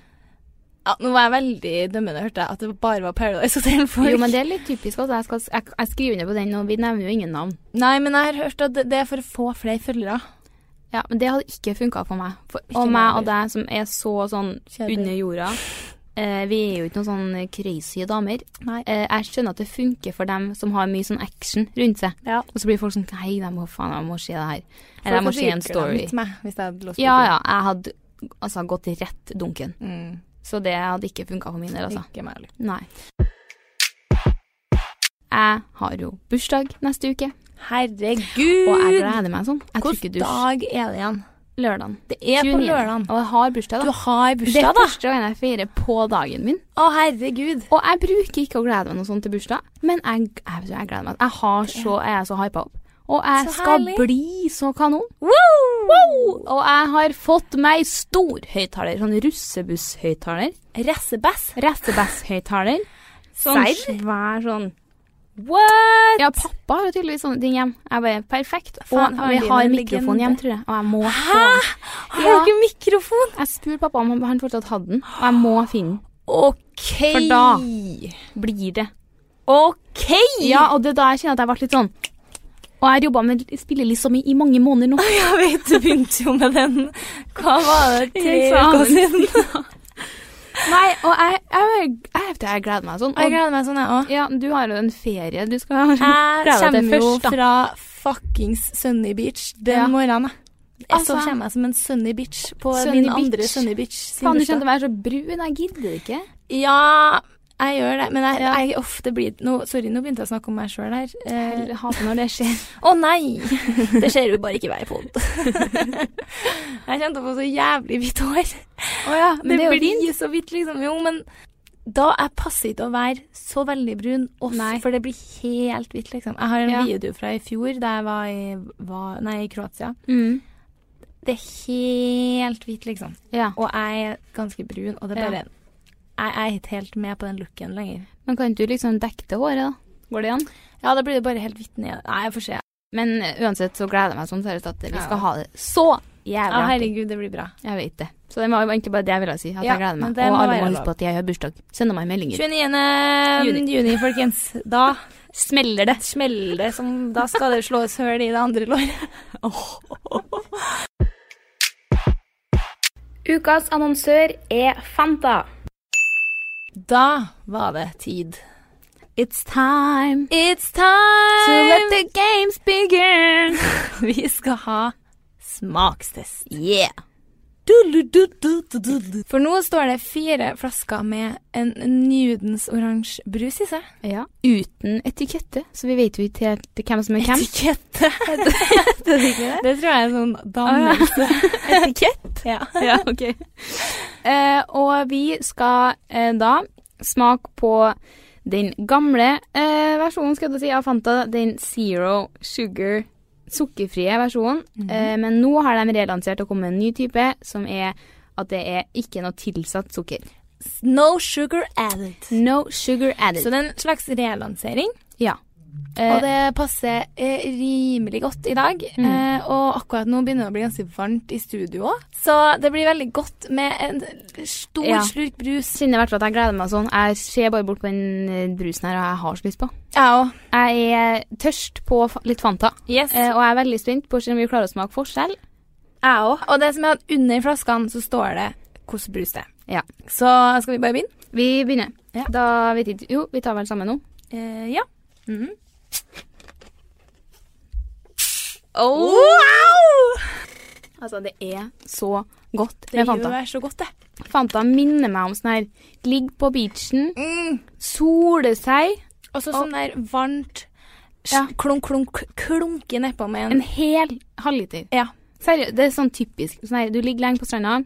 Speaker 3: Ja, nå var jeg veldig dømmende, hørte jeg, at det bare var Paradise [LAUGHS] Hotel-folk.
Speaker 2: Jo, men det er litt typisk. Altså. Jeg, skal, jeg, jeg skriver under på den, og vi nevner jo ingen navn.
Speaker 3: Nei, men jeg har hørt at det, det er for å få flere følgere.
Speaker 2: Ja, Men det hadde ikke funka for meg. For,
Speaker 3: Ikke
Speaker 2: og meg
Speaker 3: meg
Speaker 2: og deg som er så sånn
Speaker 3: Kjedelig.
Speaker 2: under jorda. eh, vi er jo ikke noen sånn crazy damer.
Speaker 3: Nei.
Speaker 2: Eh, jeg skjønner at det funker for dem som har mye sånn action rundt seg.
Speaker 3: Ja.
Speaker 2: Og så blir folk sånn Hei, jeg må faen, jeg må se det her. Eller jeg må se en story.
Speaker 3: Meg, hvis jeg hadde låst
Speaker 2: Ja
Speaker 3: boken.
Speaker 2: ja, jeg hadde altså gått rett dunken.
Speaker 3: Mm.
Speaker 2: Så det hadde ikke funka for min del, altså.
Speaker 3: Ikke meg heller.
Speaker 2: Nei. Jeg har jo bursdag neste uke,
Speaker 3: Herregud!
Speaker 2: og jeg gleder meg sånn. Jeg tror ikke
Speaker 3: Hvilken
Speaker 2: du
Speaker 3: dag er det igjen?
Speaker 2: Lørdagen.
Speaker 3: Det er på
Speaker 2: 29..
Speaker 3: lørdagen.
Speaker 2: Og jeg har bursdag,
Speaker 3: Du
Speaker 2: da.
Speaker 3: har
Speaker 2: det er
Speaker 3: bursdag, da.
Speaker 2: første gangen jeg feirer på dagen min.
Speaker 3: Å, herregud.
Speaker 2: Og jeg bruker ikke å glede meg noe sånt til bursdag, men jeg, jeg, jeg gleder meg. Jeg, har så, jeg er så hypa opp. Og jeg
Speaker 3: Så
Speaker 2: skal
Speaker 3: herlig.
Speaker 2: bli så kanon.
Speaker 3: Wow!
Speaker 2: Og jeg har fått meg stor høyttaler. Sånn russebusshøyttaler.
Speaker 3: Rassebæsj.
Speaker 2: Rassebasshøyttaler. Sånn
Speaker 3: Serr?
Speaker 2: svær sånn
Speaker 3: What?
Speaker 2: Ja, pappa har jo tydeligvis sånne ting hjem. Jeg bare perfekt.
Speaker 3: Faen,
Speaker 2: Og vi
Speaker 3: han
Speaker 2: har
Speaker 3: blir en
Speaker 2: mikrofon hjem, tror jeg. Og jeg må få
Speaker 3: Hæ?
Speaker 2: den.
Speaker 3: Har du ikke mikrofon?
Speaker 2: Jeg spurte pappa om han- han fortsatt hadde den, og jeg må finne den.
Speaker 3: OK.
Speaker 2: For da- Blir det.
Speaker 3: OK!
Speaker 2: Ja, og det er da jeg kjenner at jeg ble litt sånn Og jeg har jobba med spillelista mi i mange måneder nå.
Speaker 3: Jeg vet du begynte jo med den Hva var det? Tre
Speaker 2: I
Speaker 3: uker
Speaker 2: eksamen.
Speaker 3: [LAUGHS] siden.
Speaker 2: [LAUGHS] Nei, og jeg, jeg, jeg, jeg, jeg gleder meg sånn.
Speaker 3: Jeg
Speaker 2: Og,
Speaker 3: gleder meg sånn, jeg òg.
Speaker 2: ja, du har jo en ferie du skal [LAUGHS]
Speaker 3: Jeg
Speaker 2: Gleder deg
Speaker 3: kommer jo
Speaker 2: først, da.
Speaker 3: fra fuckings Sunny Beach den
Speaker 2: Ja.
Speaker 3: morgenen. jeg.
Speaker 2: Altså-
Speaker 3: så kommer jeg som en Sunny Beach på
Speaker 2: Sunny
Speaker 3: min
Speaker 2: Beach.
Speaker 3: andre Sunny Beach sin
Speaker 2: Faen, du
Speaker 3: bursdag.
Speaker 2: kjente meg så brun. Jeg gidder ikke.
Speaker 3: Ja, jeg gjør det, men jeg, jeg ofte blir nå, Sorry, nå begynte jeg å snakke om meg sjøl her. Eh,
Speaker 2: Jeg hater når det skjer. [LAUGHS]
Speaker 3: Å nei! Det ser jo bare ikke hver pod. [LAUGHS] jeg kjente på så jævlig hvitt hår.
Speaker 2: men det er jo
Speaker 3: blir så hvitt, liksom. Jo, men da jeg passer ikke å være så veldig brun, også,
Speaker 2: Nei.
Speaker 3: for det blir helt hvitt, liksom. Jeg har en
Speaker 2: Ja.
Speaker 3: video fra i fjor da jeg var i, var, nei, i Kroatia.
Speaker 2: Mm.
Speaker 3: Det er helt hvitt, liksom.
Speaker 2: Ja.
Speaker 3: Og jeg er ganske brun, og det er
Speaker 2: Ja.
Speaker 3: bare Jeg er ikke helt med på den looken lenger.
Speaker 2: Men kan ikke du liksom dekke det håret, da? Går det an?
Speaker 3: Ja, da blir det bare helt hvitt ned. Nei, jeg får se.
Speaker 2: Men uansett så gleder jeg meg sånn seriøst at vi
Speaker 3: Ja.
Speaker 2: skal ha det så
Speaker 3: Ja,
Speaker 2: jævla artig.
Speaker 3: herregud, det blir bra.
Speaker 2: Jeg vet det. Så det var jo egentlig bare det jeg ville si. At
Speaker 3: Ja,
Speaker 2: jeg gleder
Speaker 3: men
Speaker 2: meg.
Speaker 3: det
Speaker 2: Og
Speaker 3: må
Speaker 2: alle
Speaker 3: være
Speaker 2: må
Speaker 3: lov.
Speaker 2: huske på at jeg har bursdag. Sender meg meldinger.
Speaker 3: 29. juni,
Speaker 2: Juni.
Speaker 3: folkens. Da
Speaker 2: Smeller det.
Speaker 3: smeller det som Da skal det slås høl i det andre låret.
Speaker 2: [LAUGHS] Ukas annonsør er Fanta.
Speaker 3: Da var det tid.
Speaker 2: It's time
Speaker 3: It's
Speaker 2: to let
Speaker 3: time!
Speaker 2: the games begin.
Speaker 3: [LAUGHS] Vi skal ha smakstest.
Speaker 2: Yeah.
Speaker 3: For nå står det fire flasker med en Nudens oransje brus i seg.
Speaker 2: Ja. Uten etikette, så vi vet jo ikke helt hvem som er hvem.
Speaker 3: [LAUGHS] Etikette. det, tror jeg er en sånn dannelse. [LAUGHS] Etikett? Ja.
Speaker 2: [LAUGHS] ja, ok. Eh, og vi skal eh, da smake på den gamle eh, versjonen, skal jeg til å si, av Fanta. Den zero sugar, sukkerfrie versjonen. eh, men nå har de relansert og kommet med en ny type, som er at det er ikke noe tilsatt sukker.
Speaker 3: No sugar added.
Speaker 2: No sugar added.
Speaker 3: Så det er en slags relansering.
Speaker 2: ja. Eh,
Speaker 3: Og det passer eh, rimelig godt i dag. Eh, og akkurat nå begynner det å bli ganske varmt i studio òg. Så det blir veldig godt med en stor
Speaker 2: Ja.
Speaker 3: slurk brus.
Speaker 2: kjenner i hvert fall at jeg gleder meg sånn. Jeg ser bare bort på den eh, brusen her, og jeg har så lyst på.
Speaker 3: Jeg òg.
Speaker 2: Jeg er tørst på fa- litt Fanta.
Speaker 3: Yes.
Speaker 2: Eh, og jeg er veldig spent på å se om vi klarer å smake forskjell.
Speaker 3: Jeg òg. Og det som er at under flaskene så står det hvordan brus det er.
Speaker 2: Ja.
Speaker 3: Så skal vi bare begynne?
Speaker 2: Vi begynner.
Speaker 3: Ja.
Speaker 2: Da vet ikke Jo, vi tar vel sammen nå.
Speaker 3: Eh, ja.
Speaker 2: Oh!
Speaker 3: Wow!
Speaker 2: Altså, det er så godt
Speaker 3: Det
Speaker 2: med
Speaker 3: gjør
Speaker 2: Fanta.
Speaker 3: det så godt, det.
Speaker 2: Fanta minner meg om sånn her Ligge på beachen, sole seg,
Speaker 3: Mm. Og så sånn der varmt
Speaker 2: Ja.
Speaker 3: klunk, klunk, klunke nedpå med en,
Speaker 2: en hel halvliter.
Speaker 3: Ja.
Speaker 2: Seriøst, det er sånn typisk. Sånn her, du ligger lenge på stranda,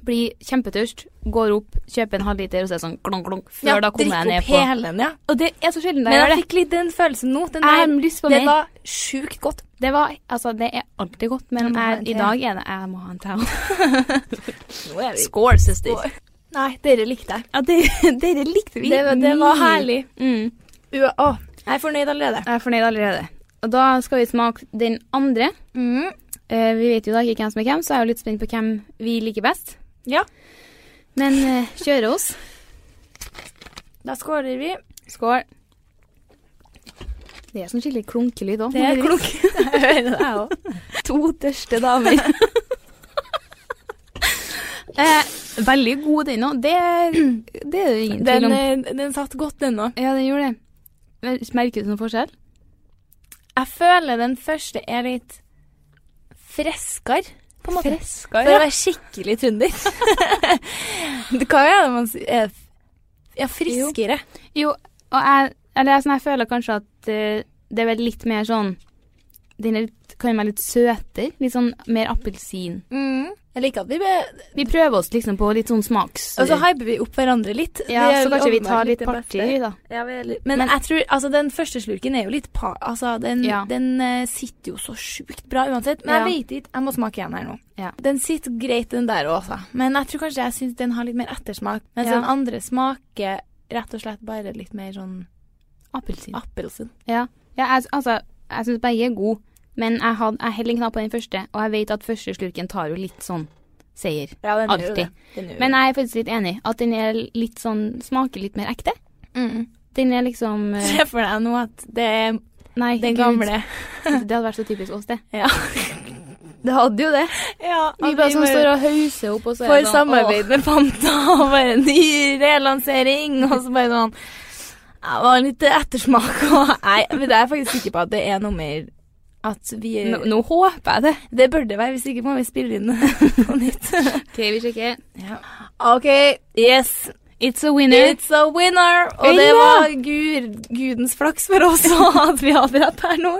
Speaker 2: blir kjempetørst, går opp, kjøper en halvliter, og så er det sånn klunk, klunk, før da kommer jeg ned
Speaker 3: Drikk
Speaker 2: på
Speaker 3: opp hele den, ja.
Speaker 2: Og det er så sjelden
Speaker 3: Men
Speaker 2: jeg gjør
Speaker 3: jeg
Speaker 2: det.
Speaker 3: fikk litt den følelsen nå. Den
Speaker 2: Jeg har
Speaker 3: der,
Speaker 2: lyst på
Speaker 3: det
Speaker 2: mer.
Speaker 3: var sjukt godt.
Speaker 2: Det, var, altså, det er alltid godt, men
Speaker 3: må ha en
Speaker 2: jeg, i
Speaker 3: til.
Speaker 2: dag er det Jeg må ha en til.
Speaker 3: Skål, søster. Nei, dere likte jeg.
Speaker 2: Ja, dere, dere likte vi.
Speaker 3: [LAUGHS] Det, var- det var herlig.
Speaker 2: Mm.
Speaker 3: Ua, å, jeg er fornøyd allerede.
Speaker 2: Jeg er fornøyd allerede. Og da skal vi smake den andre.
Speaker 3: Mm.
Speaker 2: Eh, vi vet jo da ikke hvem som er hvem, så jeg er jo litt spent på hvem vi liker best.
Speaker 3: Ja.
Speaker 2: Men eh, kjøre oss.
Speaker 3: Da skåler vi.
Speaker 2: Skål. Det er sånn skikkelig klunkelyd òg.
Speaker 3: Det er
Speaker 2: [LAUGHS]
Speaker 3: klunk. [LAUGHS] Jeg hører det, jeg òg.
Speaker 2: to tørste damer. [LAUGHS] eh, Veldig god den òg. Det, det er det jo ingen tvil
Speaker 3: Den,
Speaker 2: om.
Speaker 3: eh, den satt godt, den òg.
Speaker 2: Ja, den gjorde det. Men Merker du noen forskjell?
Speaker 3: Jeg føler den første er litt freskere, på en måte.
Speaker 1: Freskere,
Speaker 3: For å være skikkelig trønder. Det- Hva er det man sier? Er- Ja, friskere.
Speaker 2: Jo, og jeg, eller jeg, sånn, jeg føler kanskje at eh, det er vel litt mer sånn Den er litt, kan være litt søtere. Litt sånn mer appelsin.
Speaker 3: Mm. Jeg liker at vi be...
Speaker 2: Vi prøver oss liksom på litt sånn smaks...
Speaker 3: Og så hyper vi opp hverandre litt.
Speaker 2: ja,
Speaker 3: Det er
Speaker 2: så kanskje vi tar
Speaker 3: åpenbart
Speaker 2: litt
Speaker 3: det
Speaker 2: parti,
Speaker 3: beste.
Speaker 2: da.
Speaker 3: Men, jeg tror, altså den første slurken er jo litt par... Altså, den,
Speaker 2: Ja.
Speaker 3: den eh, sitter jo så sjukt bra uansett. Men
Speaker 2: Ja.
Speaker 3: jeg vet ikke, jeg må smake igjen her nå.
Speaker 2: Ja.
Speaker 3: Den sitter greit, den der også. altså. Men jeg tror kanskje jeg syns den har litt mer ettersmak. Mens
Speaker 2: Ja.
Speaker 3: den andre smaker rett og slett bare litt mer sånn
Speaker 2: Appelsin.
Speaker 3: appelsin.
Speaker 2: Ja, jeg, altså, jeg syns begge er gode, men jeg, had, jeg heller knapp på den første, og jeg vet at første slurken tar jo litt sånn seier.
Speaker 3: Ja, den
Speaker 2: gjør jo det. Men jeg er faktisk litt enig at den er litt sånn Smaker litt mer ekte. Den er liksom
Speaker 3: mm, [LAUGHS]
Speaker 2: eh,
Speaker 3: Se for deg nå at det er
Speaker 2: Nei,
Speaker 3: den
Speaker 2: gud,
Speaker 3: gamle.
Speaker 2: [LAUGHS] Det hadde vært så typisk oss, det. [LAUGHS]
Speaker 3: Ja.
Speaker 2: Det hadde jo det.
Speaker 3: ja
Speaker 2: Vi bare sånn står og hauser opp, og så er
Speaker 3: For
Speaker 2: det sånn
Speaker 3: samarbeid med Fanta [LAUGHS] og bare ny relansering. Og så bare sånn Jeg var litt ettersmak [LAUGHS] og Nei, men det er jeg faktisk sikker på at det er noe mer at vi
Speaker 2: Nå, nå håper jeg det.
Speaker 3: Det bør det være, hvis ikke må vi spille inn [LAUGHS] på nytt.
Speaker 2: OK, vi sjekker.
Speaker 3: [LAUGHS] OK, yes.
Speaker 2: It's a winner.
Speaker 3: It's a winner! Og det
Speaker 2: Ja!
Speaker 3: var gur, gudens flaks for oss [LAUGHS] også at vi hadde rett her nå.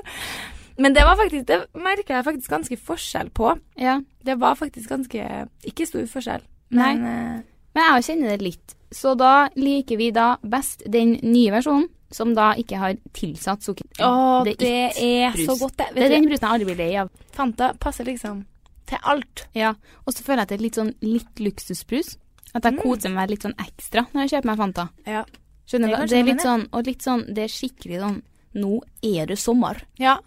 Speaker 3: Men det var faktisk Det merka jeg faktisk ganske forskjell på.
Speaker 2: Ja.
Speaker 3: Det var faktisk ganske Ikke stor forskjell,
Speaker 2: Nei.
Speaker 3: men eh,
Speaker 2: Men jeg kjenner det litt. Så da liker vi da best den nye versjonen, som da ikke har tilsatt sukker.
Speaker 3: Å, det,
Speaker 2: Det er ikke
Speaker 3: er
Speaker 2: brus.
Speaker 3: så godt, det. Vet du-
Speaker 2: Det er den brusen jeg aldri blir lei av.
Speaker 3: Fanta passer liksom til alt.
Speaker 2: Ja, og så føler jeg at det er litt sånn litt luksusbrus. At jeg
Speaker 3: Mm.
Speaker 2: koser meg litt sånn ekstra når jeg kjøper meg Fanta.
Speaker 3: Ja. Det kan
Speaker 2: Skjønner du? hva- Det er
Speaker 3: skjønne
Speaker 2: litt sånn, og litt sånn, det er skikkelig sånn, nå er det sommer.
Speaker 3: Ja.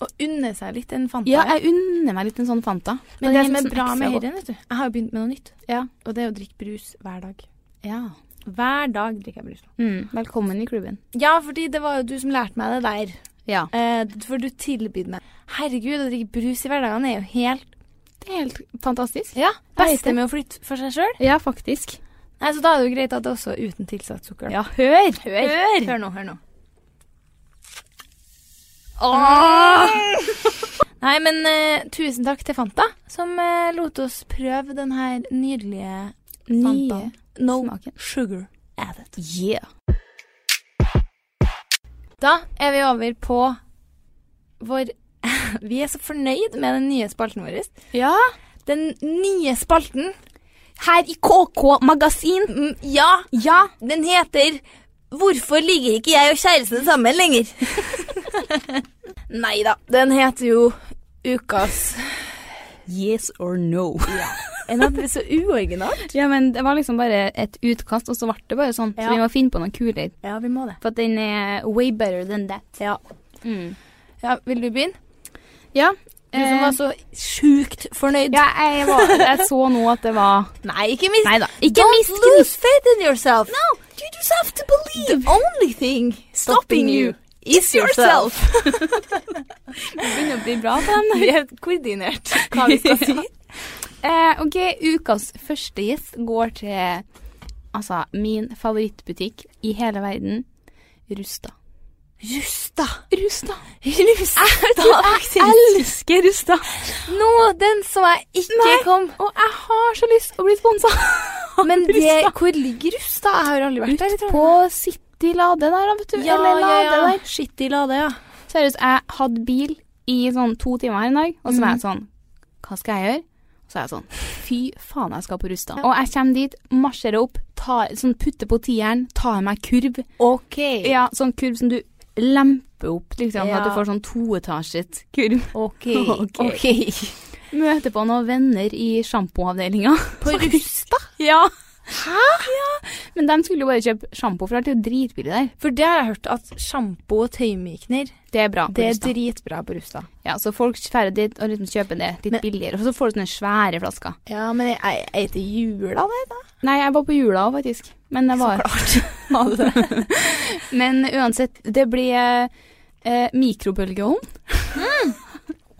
Speaker 3: Og unne seg litt en Fanta.
Speaker 2: Ja, jeg unner meg litt en sånn Fanta.
Speaker 3: Men
Speaker 2: Den
Speaker 3: det som
Speaker 2: liksom
Speaker 3: er bra
Speaker 2: ekstra
Speaker 3: med
Speaker 2: godt.
Speaker 3: Høyre, vet du Jeg har jo begynt med noe nytt.
Speaker 2: Ja.
Speaker 3: Og det er å drikke brus hver dag.
Speaker 2: Ja.
Speaker 3: Hver dag drikker jeg brus.
Speaker 2: Mm, velkommen i klubben.
Speaker 3: Ja, fordi det var jo du som lærte meg det der.
Speaker 2: Ja.
Speaker 3: Eh, for du tilbød meg Herregud, å drikke brus i hverdagen er jo helt
Speaker 2: Det er helt fantastisk.
Speaker 3: Ja,
Speaker 2: jeg vet
Speaker 3: beste
Speaker 2: det.
Speaker 3: med å flytte for seg sjøl.
Speaker 2: Ja, faktisk.
Speaker 3: Nei, Så da er det jo greit at det også er uten tilsatt sukker.
Speaker 2: Ja, hør!
Speaker 3: Hør.
Speaker 2: Hør!
Speaker 3: hør nå, hør nå. Nei, men eh, tusen takk til Fanta, som eh, lot oss prøve den her nydelige
Speaker 2: Nye
Speaker 3: Fantaen. No
Speaker 2: smaken.
Speaker 3: sugar added.
Speaker 2: Yeah.
Speaker 3: Da er vi over på vår [LAUGHS] Vi er så fornøyd med den nye spalten vår.
Speaker 2: Ja.
Speaker 3: Den nye spalten.
Speaker 2: Her i KK Magasin.
Speaker 3: Mm, Ja,
Speaker 2: Ja.
Speaker 3: den heter 'Hvorfor ligger ikke jeg og kjæresten sammen [LAUGHS] lenger?' Nei da. Den heter jo Ukas
Speaker 1: Yes or no.
Speaker 3: Enn at det [LAUGHS] er så uoriginalt.
Speaker 2: Ja, men det var liksom bare et utkast, og så ble det bare sånn.
Speaker 3: Ja.
Speaker 2: Så vi må finne på noe kulere.
Speaker 3: Ja, vi må det.
Speaker 2: For at den er way better than that.
Speaker 3: Ja.
Speaker 2: Mm.
Speaker 3: ja vil du begynne?
Speaker 2: Ja. Eh,
Speaker 3: Du som var så sjukt fornøyd.
Speaker 2: ja, jeg, var, jeg så nå at det var
Speaker 3: Nei, ikke minst.
Speaker 2: Nei da. Ikke
Speaker 3: Don't
Speaker 2: mist
Speaker 3: lose faith in yourself. No, you just have to believe. The only thing stopping you is yourself. [LAUGHS]
Speaker 2: begynner å bli bra på den.
Speaker 3: Vi er koordinert hva vi skal si.
Speaker 2: [LAUGHS] Eh, OK, ukas første gjest går til altså min favorittbutikk i hele verden, Rusta.
Speaker 3: Rusta.
Speaker 2: Rusta.
Speaker 3: Rusta.
Speaker 2: Elsker Rusta.
Speaker 3: Nå, den så jeg ikke
Speaker 2: Nei.
Speaker 3: kom.
Speaker 2: Og jeg har så lyst til å bli sponsa. [LAUGHS]
Speaker 3: [LAUGHS] Men det, hvor ligger Rusta? Jeg har jo aldri vært der.
Speaker 2: Ut på City Lade der, da, vet du. Eller Lade der.
Speaker 3: Shit i lade, ja.
Speaker 2: Seriøst, jeg hadde bil i sånn to timer her en dag, og så var
Speaker 3: Mhm.
Speaker 2: jeg sånn Hva skal jeg gjøre? Og så er jeg sånn Fy faen, jeg skal på Rusta. Og jeg kommer dit, marsjerer opp, tar, sånn putter på tieren, tar meg kurv.
Speaker 3: Ok.
Speaker 2: Ja, sånn kurv som du lemper opp, liksom.
Speaker 3: Ja.
Speaker 2: At du får sånn toetasjet kurv.
Speaker 3: [LAUGHS] Ok.
Speaker 2: Ok. Møter på noen venner i sjampoavdelinga.
Speaker 3: På Rusta?
Speaker 2: Ja. Hæ? Ja. Men de skulle jo bare kjøpe sjampo, for det er jo dritbillig der.
Speaker 3: For det har jeg hørt at sjampo og tøymykner,
Speaker 2: Det er bra. på
Speaker 3: det er
Speaker 2: Rusta.
Speaker 3: dritbra på Rusta.
Speaker 2: Ja, så folk drar dit og liksom kjøper det litt
Speaker 3: Men-
Speaker 2: billigere, og så får du sånne svære flasker.
Speaker 3: Ja, men jeg, jeg, jeg heter jula, det da.
Speaker 2: Nei, jeg var på jula òg, faktisk. Men, jeg var. [LAUGHS] Men uansett, det blir eh,
Speaker 3: Mm.
Speaker 2: [LAUGHS] mikrobølgeovn.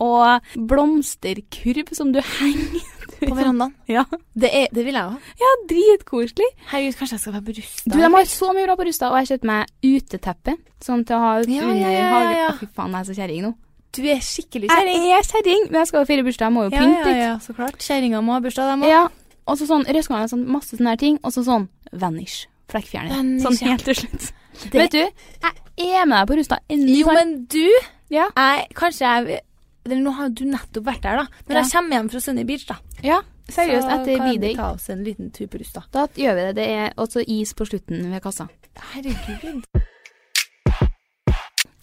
Speaker 2: og blomsterkurv som du henger
Speaker 3: [LAUGHS] [LAUGHS] på verandaen.
Speaker 1: Ja.
Speaker 3: Det, er, det vil jeg òg.
Speaker 1: ja, dritkoselig.
Speaker 3: Herregud, kanskje jeg skal være på Rustad.
Speaker 2: Du, de har så mye bra på Rustad, og jeg har kjøpt meg uteteppe. Sånn til å ha ut
Speaker 3: Ja,
Speaker 2: under
Speaker 3: ja, ja,
Speaker 2: hagen.
Speaker 3: ja, ja.
Speaker 2: Å, Fy faen, jeg er så kjerring nå.
Speaker 3: Du er skikkelig
Speaker 2: Jeg er kjerring, men jeg skal jo feire bursdag, jeg må jo
Speaker 3: Ja,
Speaker 2: pynte
Speaker 3: ja,
Speaker 2: litt.
Speaker 3: ja, så klart. Kjerringa må ha bursdag, dem
Speaker 2: Ja,
Speaker 3: òg.
Speaker 2: Og så sånn røskene og sånn, masse sånne her ting, og så sånn vanish. Flekkfjerner.
Speaker 3: Vanish,
Speaker 2: Sånn
Speaker 3: ja.
Speaker 2: helt til slutt. Vet du, jeg er med deg på Rustad. Endelig.
Speaker 3: Jo, men du
Speaker 2: Ja.
Speaker 3: jeg, Kanskje jeg Eller nå har du nettopp vært der, da. Når
Speaker 2: Ja.
Speaker 3: jeg kommer hjem fra Sunny Beach, da.
Speaker 2: Ja, seriøst,
Speaker 3: så
Speaker 2: etter
Speaker 3: kan vi
Speaker 2: B-day.
Speaker 3: ta oss en liten tur på Rustad.
Speaker 2: Da gjør vi det. Det er også is på slutten ved kassa.
Speaker 3: Herregud.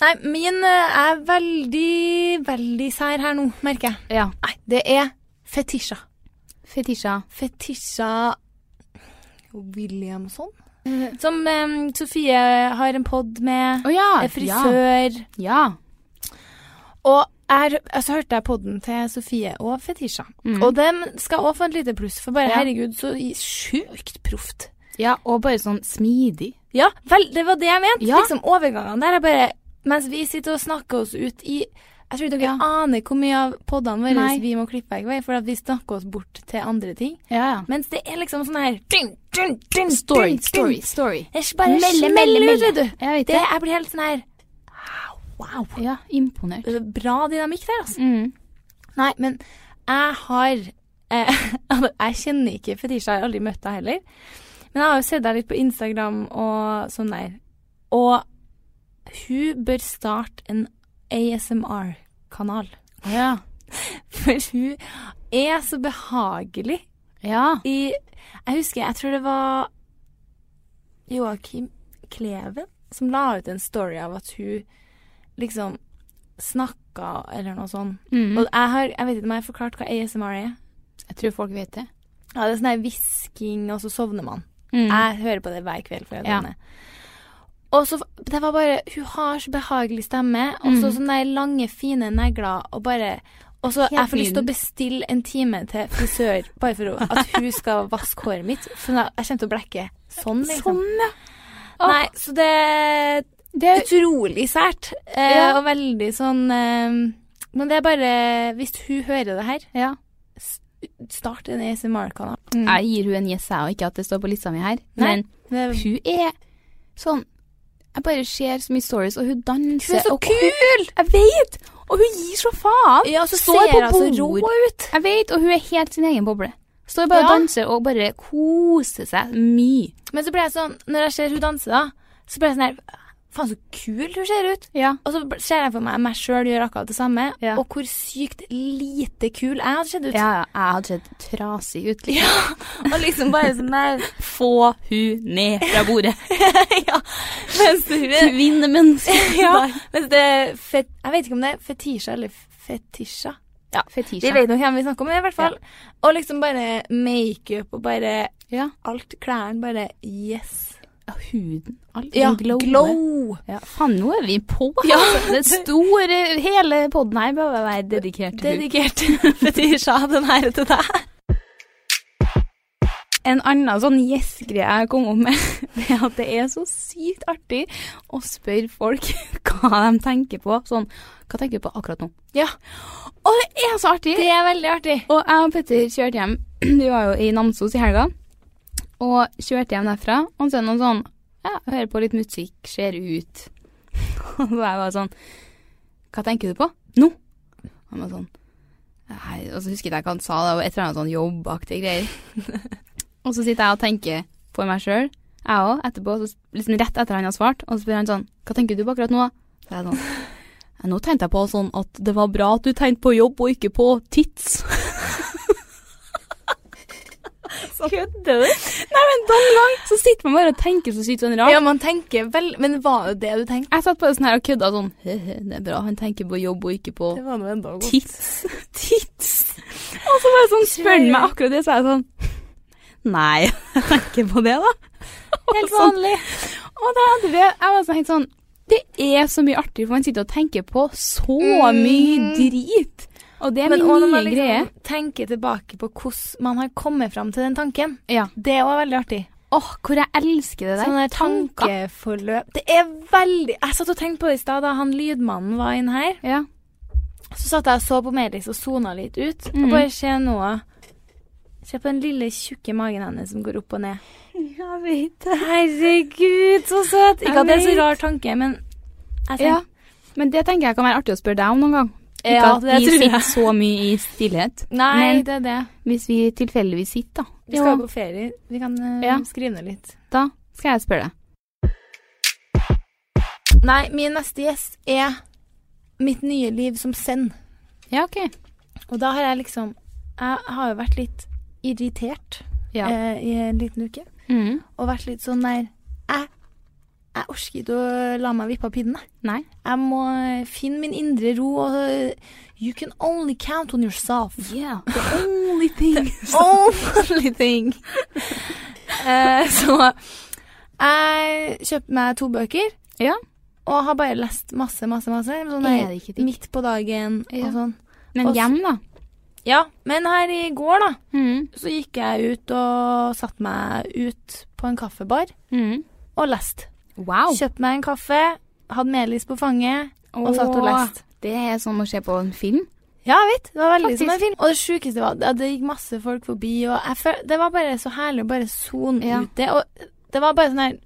Speaker 3: Nei, min eh, er veldig, veldig sær her nå, merker jeg.
Speaker 2: Ja.
Speaker 3: Nei, det er fetisja.
Speaker 2: Fetisha.
Speaker 3: Fetisha Williamson. Som eh, Sofie har en pod med.
Speaker 2: Å ja.
Speaker 3: Er frisør.
Speaker 2: Ja. ja.
Speaker 3: Og er, altså, hørte jeg podden til Sofie og Fetisha. Og dem skal også få et lite pluss, for bare
Speaker 2: Mm. Ja.
Speaker 3: herregud, så i- sjukt proft.
Speaker 2: Ja, og bare sånn smidig.
Speaker 3: Ja, vel, det var det jeg mente.
Speaker 2: Ja.
Speaker 3: Liksom overgangene der er bare Mens vi sitter og snakker oss ut i Jeg tror dere
Speaker 2: Ja.
Speaker 3: aner hvor mye av podene våre
Speaker 2: Nei.
Speaker 3: vi må klippe vekk, vei, for at vi snakker oss bort til andre ting.
Speaker 2: Ja, ja.
Speaker 3: Mens det er liksom sånn her dun, dun, dun,
Speaker 2: Story,
Speaker 3: dun,
Speaker 2: story,
Speaker 3: dun.
Speaker 2: story.
Speaker 3: Det er bare
Speaker 2: Melde,
Speaker 3: smeller ut,
Speaker 2: melde, melde.
Speaker 3: vet du.
Speaker 2: Jeg vet
Speaker 3: Det,
Speaker 2: det.
Speaker 3: jeg blir helt sånn her ah, Wow.
Speaker 2: Ja, imponert.
Speaker 3: Bra dynamikk der, altså.
Speaker 2: Mm.
Speaker 3: Nei, men jeg har eh, [LAUGHS] Jeg kjenner ikke Fetisha, jeg har aldri møtt deg heller. Men jeg har jo sett deg litt på Instagram og sånn der. Og hun bør starte en ASMR-kanal.
Speaker 2: Ja.
Speaker 3: [LAUGHS] For hun er så behagelig
Speaker 2: Ja.
Speaker 3: i Jeg husker, jeg tror det var Joakim Kleven som la ut en story av at hun liksom snakka eller noe sånt.
Speaker 2: Mm.
Speaker 3: Og jeg, har, jeg vet ikke om jeg har forklart hva ASMR er.
Speaker 2: Jeg tror folk vet det.
Speaker 3: Ja, det er sånn der hvisking, og så sovner man.
Speaker 2: Mm.
Speaker 3: Jeg hører på det hver kveld. For jeg
Speaker 2: Ja.
Speaker 3: ja. Og så, det var bare, Hun har så behagelig stemme, og
Speaker 2: Mm.
Speaker 3: så sånne der lange, fine negler. Og bare, og så, jeg får lyst til å bestille en time til frisør bare for å- at hun skal vaske håret mitt. For jeg jeg kommer til å blekke sånn, liksom.
Speaker 2: ja.
Speaker 3: Nei, så det
Speaker 2: Det er
Speaker 3: Utrolig sært. Eh,
Speaker 2: Ja.
Speaker 3: Og veldig sånn eh, Men det er bare Hvis hun hører det her,
Speaker 2: ja.
Speaker 3: start en ASMR-kanal.
Speaker 2: Jeg gir hun en yes, jeg, og ikke at det står på lista mi her.
Speaker 3: Nei.
Speaker 2: Men hun er sånn Jeg bare ser så mye stories, og hun danser
Speaker 3: Hun er så
Speaker 2: og
Speaker 3: kul!
Speaker 2: Jeg vet! Og hun gir så faen!
Speaker 3: Ja, så
Speaker 2: Står på
Speaker 3: ser hun så rå
Speaker 2: bord.
Speaker 3: ut.
Speaker 2: Jeg vet, og hun er helt sin egen boble. Står bare og
Speaker 3: Ja.
Speaker 2: danser og bare koser seg mye.
Speaker 3: Men så ble jeg sånn, når jeg ser hun danse da, så ble jeg sånn her, faen så kul hun ser ut.
Speaker 2: Ja.
Speaker 3: Og så ser jeg for meg meg selv gjør akkurat det samme,
Speaker 2: Ja.
Speaker 3: og hvor sykt lite kul jeg hadde sett ut.
Speaker 2: Ja, ja. Jeg hadde sett trasig ut. Liksom.
Speaker 3: [LAUGHS] Ja, og liksom bare sånn der,
Speaker 2: Få hun ned fra [LAUGHS] bordet.
Speaker 3: [LAUGHS] ja, mens hun er,
Speaker 2: Kvinnemenneske.
Speaker 3: [LAUGHS] ja, mens det er fet, jeg vet ikke om det er fetisja eller fetisja.
Speaker 2: Ja.
Speaker 3: Vi
Speaker 2: Fetisha.
Speaker 3: vet nå hvem vi snakker om, men i hvert fall. Og liksom bare make-up og bare
Speaker 2: Ja.
Speaker 3: alt klærne, bare yes.
Speaker 2: Huden. Alt
Speaker 3: Ja,
Speaker 2: den glower.
Speaker 3: glow.
Speaker 2: Ja, faen, nå er vi på. Ja. Det store, hele podden her bør være dedikert til hud.
Speaker 3: Dedikert [LAUGHS] fetisja, den her til deg.
Speaker 2: En annen sånn yes-greie jeg kom opp med, [LAUGHS] det er at det er så sykt artig å spørre folk [LAUGHS] hva de tenker på. Sånn, hva tenker du på akkurat nå?
Speaker 3: Ja.
Speaker 2: Og det er så artig!
Speaker 3: Det er veldig artig.
Speaker 2: Og jeg og Petter kjørte hjem, [CLEARS THROAT] vi var jo i Namsos i helga, og kjørte hjem derfra, og så er det noen sånn, ja, hører på litt musikk, ser ut. [LAUGHS] Og så jeg var sånn, hva tenker du på? Nå! Han var sånn, nei, og så husket jeg ikke hva han sa, det var et eller annet sånn jobbaktig greier. og så sitter jeg og tenker på meg selv, jeg også, etterpå, så s- liksom rett etter han har svart, og så spør han sånn, hva tenker du på akkurat nå? da?» Så er jeg sånn, [LAUGHS] «Nei, nå tenkte jeg på sånn at det var bra at du tenkte på jobb og ikke på tids.
Speaker 3: Kødder du?
Speaker 2: Nei, men den gang så sitter man bare og tenker så sykt sånn rart.
Speaker 3: Ja, man tenker vel Men var det det du tenkte?
Speaker 2: Jeg satt bare sånn her og kødda sånn «Hehe, Det er bra, han tenker på jobb og ikke på
Speaker 3: var nå enda godt.
Speaker 2: tits. Tits. Og så bare sånn spør han meg akkurat det, så er jeg sånn Nei, [LAUGHS] jeg tenker på det, da.
Speaker 3: Helt
Speaker 2: Og sånn.
Speaker 3: vanlig.
Speaker 2: Og da hadde vi Jeg var sånn helt sånn Det er så mye artig, for man sitter og tenker på så mye drit. Og det er min
Speaker 3: Mm. Men også når
Speaker 2: nye
Speaker 3: man
Speaker 2: greie.
Speaker 3: liksom tenker tilbake på hvordan man har kommet fram til den tanken.
Speaker 2: Ja.
Speaker 3: Det er også veldig artig.
Speaker 2: Åh, hvor jeg elsker det der.
Speaker 3: Sånne
Speaker 2: Tanker.
Speaker 3: tankeforløp Det er veldig Jeg satt og tenkte på det i stad, da han lydmannen var inne her.
Speaker 2: Ja.
Speaker 3: Så satt jeg og så på Melis og sona litt ut.
Speaker 2: Mm.
Speaker 3: Og bare se noe Se på den lille, tjukke magen hennes som går opp og ned.
Speaker 1: Jeg vet det.
Speaker 3: Herregud, så søt! Ikke at det er så rar tanke, men jeg
Speaker 2: Ja. Men det tenker jeg kan være artig å spørre deg om noen gang. Ikke
Speaker 3: Ja,
Speaker 2: at
Speaker 3: det
Speaker 2: vi
Speaker 3: tror jeg.
Speaker 2: sitter så mye i stillhet.
Speaker 3: Nei,
Speaker 2: Men-
Speaker 3: det er det.
Speaker 2: Hvis vi tilfeldigvis sitter, da.
Speaker 3: Vi skal jo på ferie. Vi kan eh,
Speaker 2: Ja.
Speaker 3: skrive ned litt.
Speaker 2: Da skal jeg spørre deg.
Speaker 3: Nei, min neste gjest er mitt nye liv som send.
Speaker 2: Ja, OK.
Speaker 3: Og da har jeg liksom Jeg har jo vært litt irritert
Speaker 2: Ja.
Speaker 3: eh, i en liten uke.
Speaker 2: Mhm.
Speaker 3: Og vært litt sånn der Jeg, jeg orker ikke å la meg vippe av pinnen, jeg.
Speaker 2: Nei.
Speaker 3: Jeg må finne min indre ro og eh, You can only count on yourself.
Speaker 2: Yeah, [LAUGHS] the only thing.
Speaker 3: Only
Speaker 2: [LAUGHS]
Speaker 3: thing. [LAUGHS] Eh, så jeg kjøpte meg to bøker.
Speaker 2: Ja.
Speaker 3: Og har bare lest masse, masse, masse. Sånn
Speaker 2: Er
Speaker 3: der,
Speaker 2: det ikke digg?
Speaker 3: midt på dagen
Speaker 2: Ja.
Speaker 3: og sånn.
Speaker 2: Men hjem, da.
Speaker 3: Ja, men her i går, da,
Speaker 2: Mhm.
Speaker 3: så gikk jeg ut og satte meg ut på en kaffebar
Speaker 2: Mhm.
Speaker 3: og leste.
Speaker 2: Wow.
Speaker 3: Kjøpte meg en kaffe, hadde Melis på fanget og satt og
Speaker 2: Åh,
Speaker 3: leste.
Speaker 2: Det er som å se på en film.
Speaker 3: Ja, jeg vet. Det var veldig som en
Speaker 2: Faktisk.
Speaker 3: film. Og det sjukeste var at det gikk masse folk forbi, og jeg føl det var bare så herlig å bare sone
Speaker 2: Ja.
Speaker 3: ut det. Og det var bare sånn her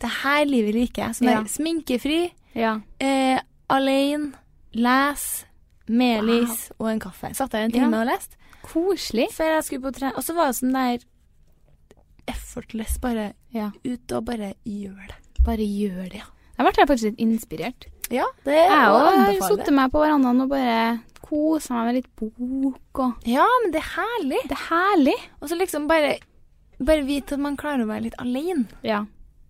Speaker 3: Det her livet liker jeg. Sånn
Speaker 2: Ja.
Speaker 3: her sminkefri,
Speaker 2: Ja.
Speaker 3: eh, alene, les, Melis og en kaffe. Satt der en time
Speaker 2: Ja.
Speaker 3: og leste.
Speaker 2: Koselig.
Speaker 3: Før jeg skulle på tre... Og så var det sånn der effortless, bare
Speaker 2: Ja.
Speaker 3: ut og bare gjør det.
Speaker 2: Bare gjør det. Jeg ble faktisk litt inspirert.
Speaker 3: Ja, det
Speaker 2: Jeg har
Speaker 3: anbefaler
Speaker 2: sittet meg på verandaen og bare kosa meg med litt bok og
Speaker 3: Ja, men det er herlig.
Speaker 2: Det er herlig.
Speaker 3: Og så liksom bare, bare vite at man klarer å være litt alene.
Speaker 2: Ja.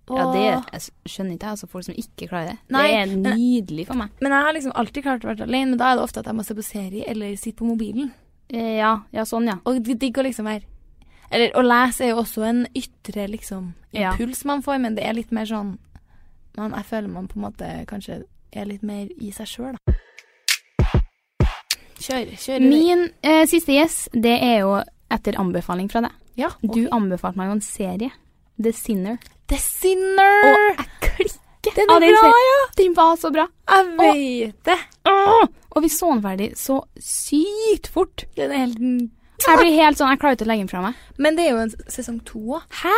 Speaker 3: Og...
Speaker 2: det jeg skjønner ikke jeg, altså folk som ikke klarer det.
Speaker 3: Nei,
Speaker 2: det er nydelig for meg.
Speaker 3: Men jeg har liksom alltid klart å være alene, men da er det ofte at jeg må se på serie eller sitte på mobilen.
Speaker 2: Eh, Ja, ja, sånn, ja.
Speaker 3: Og det er digg å liksom være Eller å lese er jo også en ytre liksom
Speaker 2: Ja.
Speaker 3: impuls man får, men det er litt mer sånn man, Jeg føler man på en måte kanskje er litt mer i seg sjøl, da. Kjør, kjør.
Speaker 2: Min eh, siste gjess, det er jo etter anbefaling fra deg.
Speaker 3: ja,
Speaker 2: Du anbefalte meg jo en serie. The Sinner.
Speaker 3: The Sinner!
Speaker 2: Og jeg klikker
Speaker 3: Den er
Speaker 2: av den
Speaker 3: bra,
Speaker 2: serien. Den var så bra.
Speaker 3: jeg vet det!
Speaker 2: Åh! Og vi så den ferdig så sykt fort.
Speaker 3: Den er helt
Speaker 2: Jeg blir helt sånn, jeg klarer ikke å legge den fra meg.
Speaker 3: Men det er jo en s- sesong to òg. Hæ?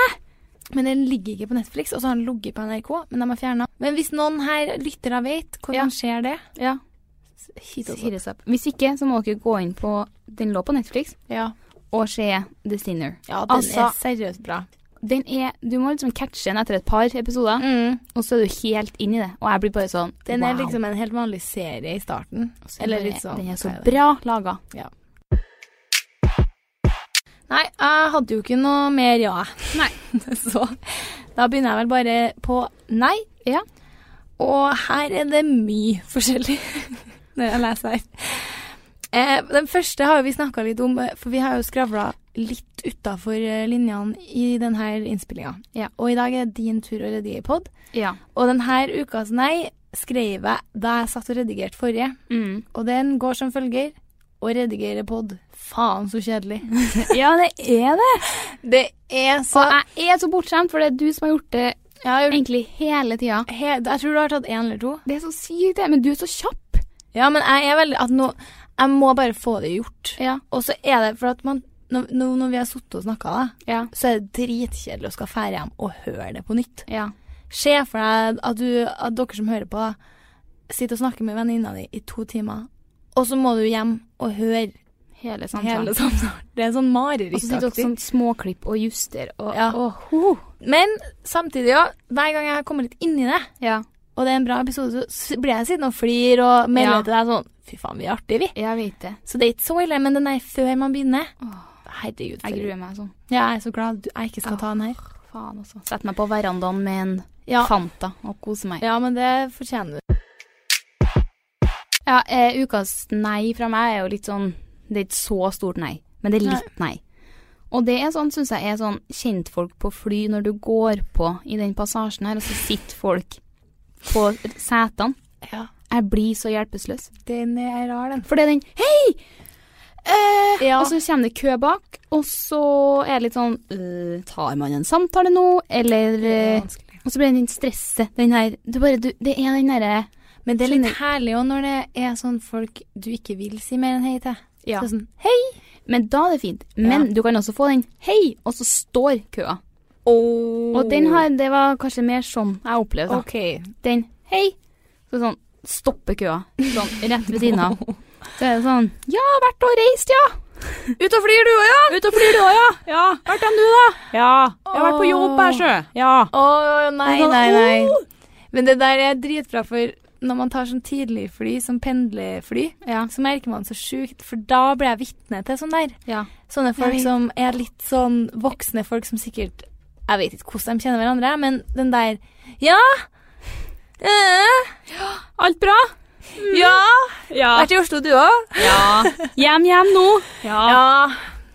Speaker 3: Men den ligger ikke på Netflix, og så har den ligget på NRK, men de har fjerna. Men hvis noen her lyttere vet hvordan
Speaker 2: Ja.
Speaker 3: skjer det
Speaker 2: Ja,
Speaker 3: Hit oss opp.
Speaker 2: hit us up. Hvis ikke, så må dere gå inn på Den lå på Netflix,
Speaker 3: Ja.
Speaker 2: og se The Sinner.
Speaker 3: ja, den
Speaker 2: Altså-
Speaker 3: er seriøst bra.
Speaker 2: Den er, Du må liksom catche den etter et par episoder, og så er du helt inn i det. Og jeg blir bare sånn
Speaker 3: Mm. Den er
Speaker 2: wow.
Speaker 3: liksom en helt vanlig serie i starten.
Speaker 2: Så
Speaker 3: Eller
Speaker 2: bare,
Speaker 3: litt sånn
Speaker 2: Den er så
Speaker 3: hva er det?
Speaker 2: bra laga.
Speaker 3: Nei, jeg hadde jo ikke noe mer
Speaker 2: [LAUGHS]
Speaker 3: ja. Nei. [LAUGHS] så da begynner jeg vel bare på nei.
Speaker 2: Ja.
Speaker 3: Og her er det mye forskjellig [LAUGHS] når jeg leser her. Eh, den første har jo vi snakka litt om, eh, for vi har jo skravla litt utafor linjene i denne innspillinga.
Speaker 2: Ja.
Speaker 3: Og i dag er det din tur å redigere pod.
Speaker 2: Ja.
Speaker 3: Og denne ukas nei skrev jeg da jeg satt og redigerte forrige.
Speaker 2: Mm.
Speaker 3: Og den går som følger Å redigere pod. Faen så [LAUGHS] kjedelig.
Speaker 2: ja, det er det.
Speaker 3: Det er så
Speaker 2: Og jeg er så bortskjemt, for det er du som har gjort det
Speaker 3: Jeg, har gjort
Speaker 2: egentlig hele tida.
Speaker 3: he, jeg tror du har tatt én eller to.
Speaker 2: Det er så sykt, det. Men du er så kjapp.
Speaker 3: Ja, men jeg er veldig at nå, Jeg må bare få det gjort.
Speaker 2: Ja.
Speaker 3: Og så er det for at man Når, når når vi har sittet og snakka,
Speaker 2: Ja.
Speaker 3: så er det dritkjedelig å skal fære hjem og høre det på nytt.
Speaker 2: Ja.
Speaker 3: Se for deg at, du, at dere som hører på, da, sitter og snakker med venninna di i to timer, og så må du hjem og høre
Speaker 2: Hele samtalen.
Speaker 3: hele samtalen. Det er sånn
Speaker 2: Og så sitter dere
Speaker 3: marerittaktig.
Speaker 2: sånn småklipp og juster og
Speaker 3: Ja.
Speaker 2: Åh, ho.
Speaker 3: Men samtidig, ja, hver gang jeg kommer litt inni det,
Speaker 2: ja.
Speaker 3: og det er en bra episode, så s- blir jeg sittende og flir og melder
Speaker 2: Ja.
Speaker 3: til deg sånn Fy faen, vi er artige, vi.
Speaker 2: Jeg vet det.
Speaker 3: Så det er ikke så ille, men den er før man begynner. Herregud. for-
Speaker 2: Jeg gruer meg sånn.
Speaker 3: Ja, jeg er så glad du- jeg ikke skal ta den her.
Speaker 2: Faen, altså. Sett meg på verandaen med en
Speaker 3: Ja,
Speaker 2: Fanta og kose meg.
Speaker 3: ja men det fortjener du.
Speaker 2: Ja, eh, ukas nei fra meg er jo litt sånn Det er ikke så stort nei, men det er litt nei. Og det er sånn, syns jeg, er sånn kjentfolk på fly når du går på i den passasjen her, og så sitter folk på setene.
Speaker 3: Ja.
Speaker 2: Jeg blir så hjelpeløs.
Speaker 3: Den er rar, den.
Speaker 2: For det er den Hei! Eh,
Speaker 3: Ja.
Speaker 2: Og så kommer det kø bak, og så er det litt sånn øh, Tar man en samtale nå, eller eh, Og så blir det den stresset, den her du bare, du, Det er den derre
Speaker 3: Men det er litt herlig òg når det er sånn folk du ikke vil si mer enn hei til.
Speaker 2: Ja.
Speaker 3: Så sånn, hei!
Speaker 2: Men da er det fint. Men
Speaker 3: Ja.
Speaker 2: du kan også få den 'hei', og så står køa. Og den har, det var kanskje mer sånn jeg opplevde da.
Speaker 3: OK.
Speaker 2: Den 'hei', så sånn stopper køa. Sånn rett ved [LAUGHS] siden av. Så er det sånn 'ja, vært og reist, ja'.
Speaker 5: Ut og flyr du òg, ja?
Speaker 2: Ut og flyr du òg, ja.
Speaker 5: Ja. Vært enn du, da? Ja. Jeg har vært på jobb her, sjø. Ja.
Speaker 3: Å, nei, nei, nei. Men det der er dritbra, for når man tar sånn tidligfly, sånn pendlerfly,
Speaker 2: Ja.
Speaker 3: så merker man så sjukt, for da blir jeg vitne til sånn der.
Speaker 2: ja.
Speaker 3: Sånne folk
Speaker 2: vet.
Speaker 3: som er litt sånn voksne folk som sikkert Jeg vet ikke hvordan de kjenner hverandre, men den der Ja! Eh, Mm.
Speaker 2: Alt bra?
Speaker 3: ja!
Speaker 1: Ja.
Speaker 3: Vært i Oslo, du òg?
Speaker 1: ja. Hjem, hjem nå. Ja.
Speaker 3: Ja.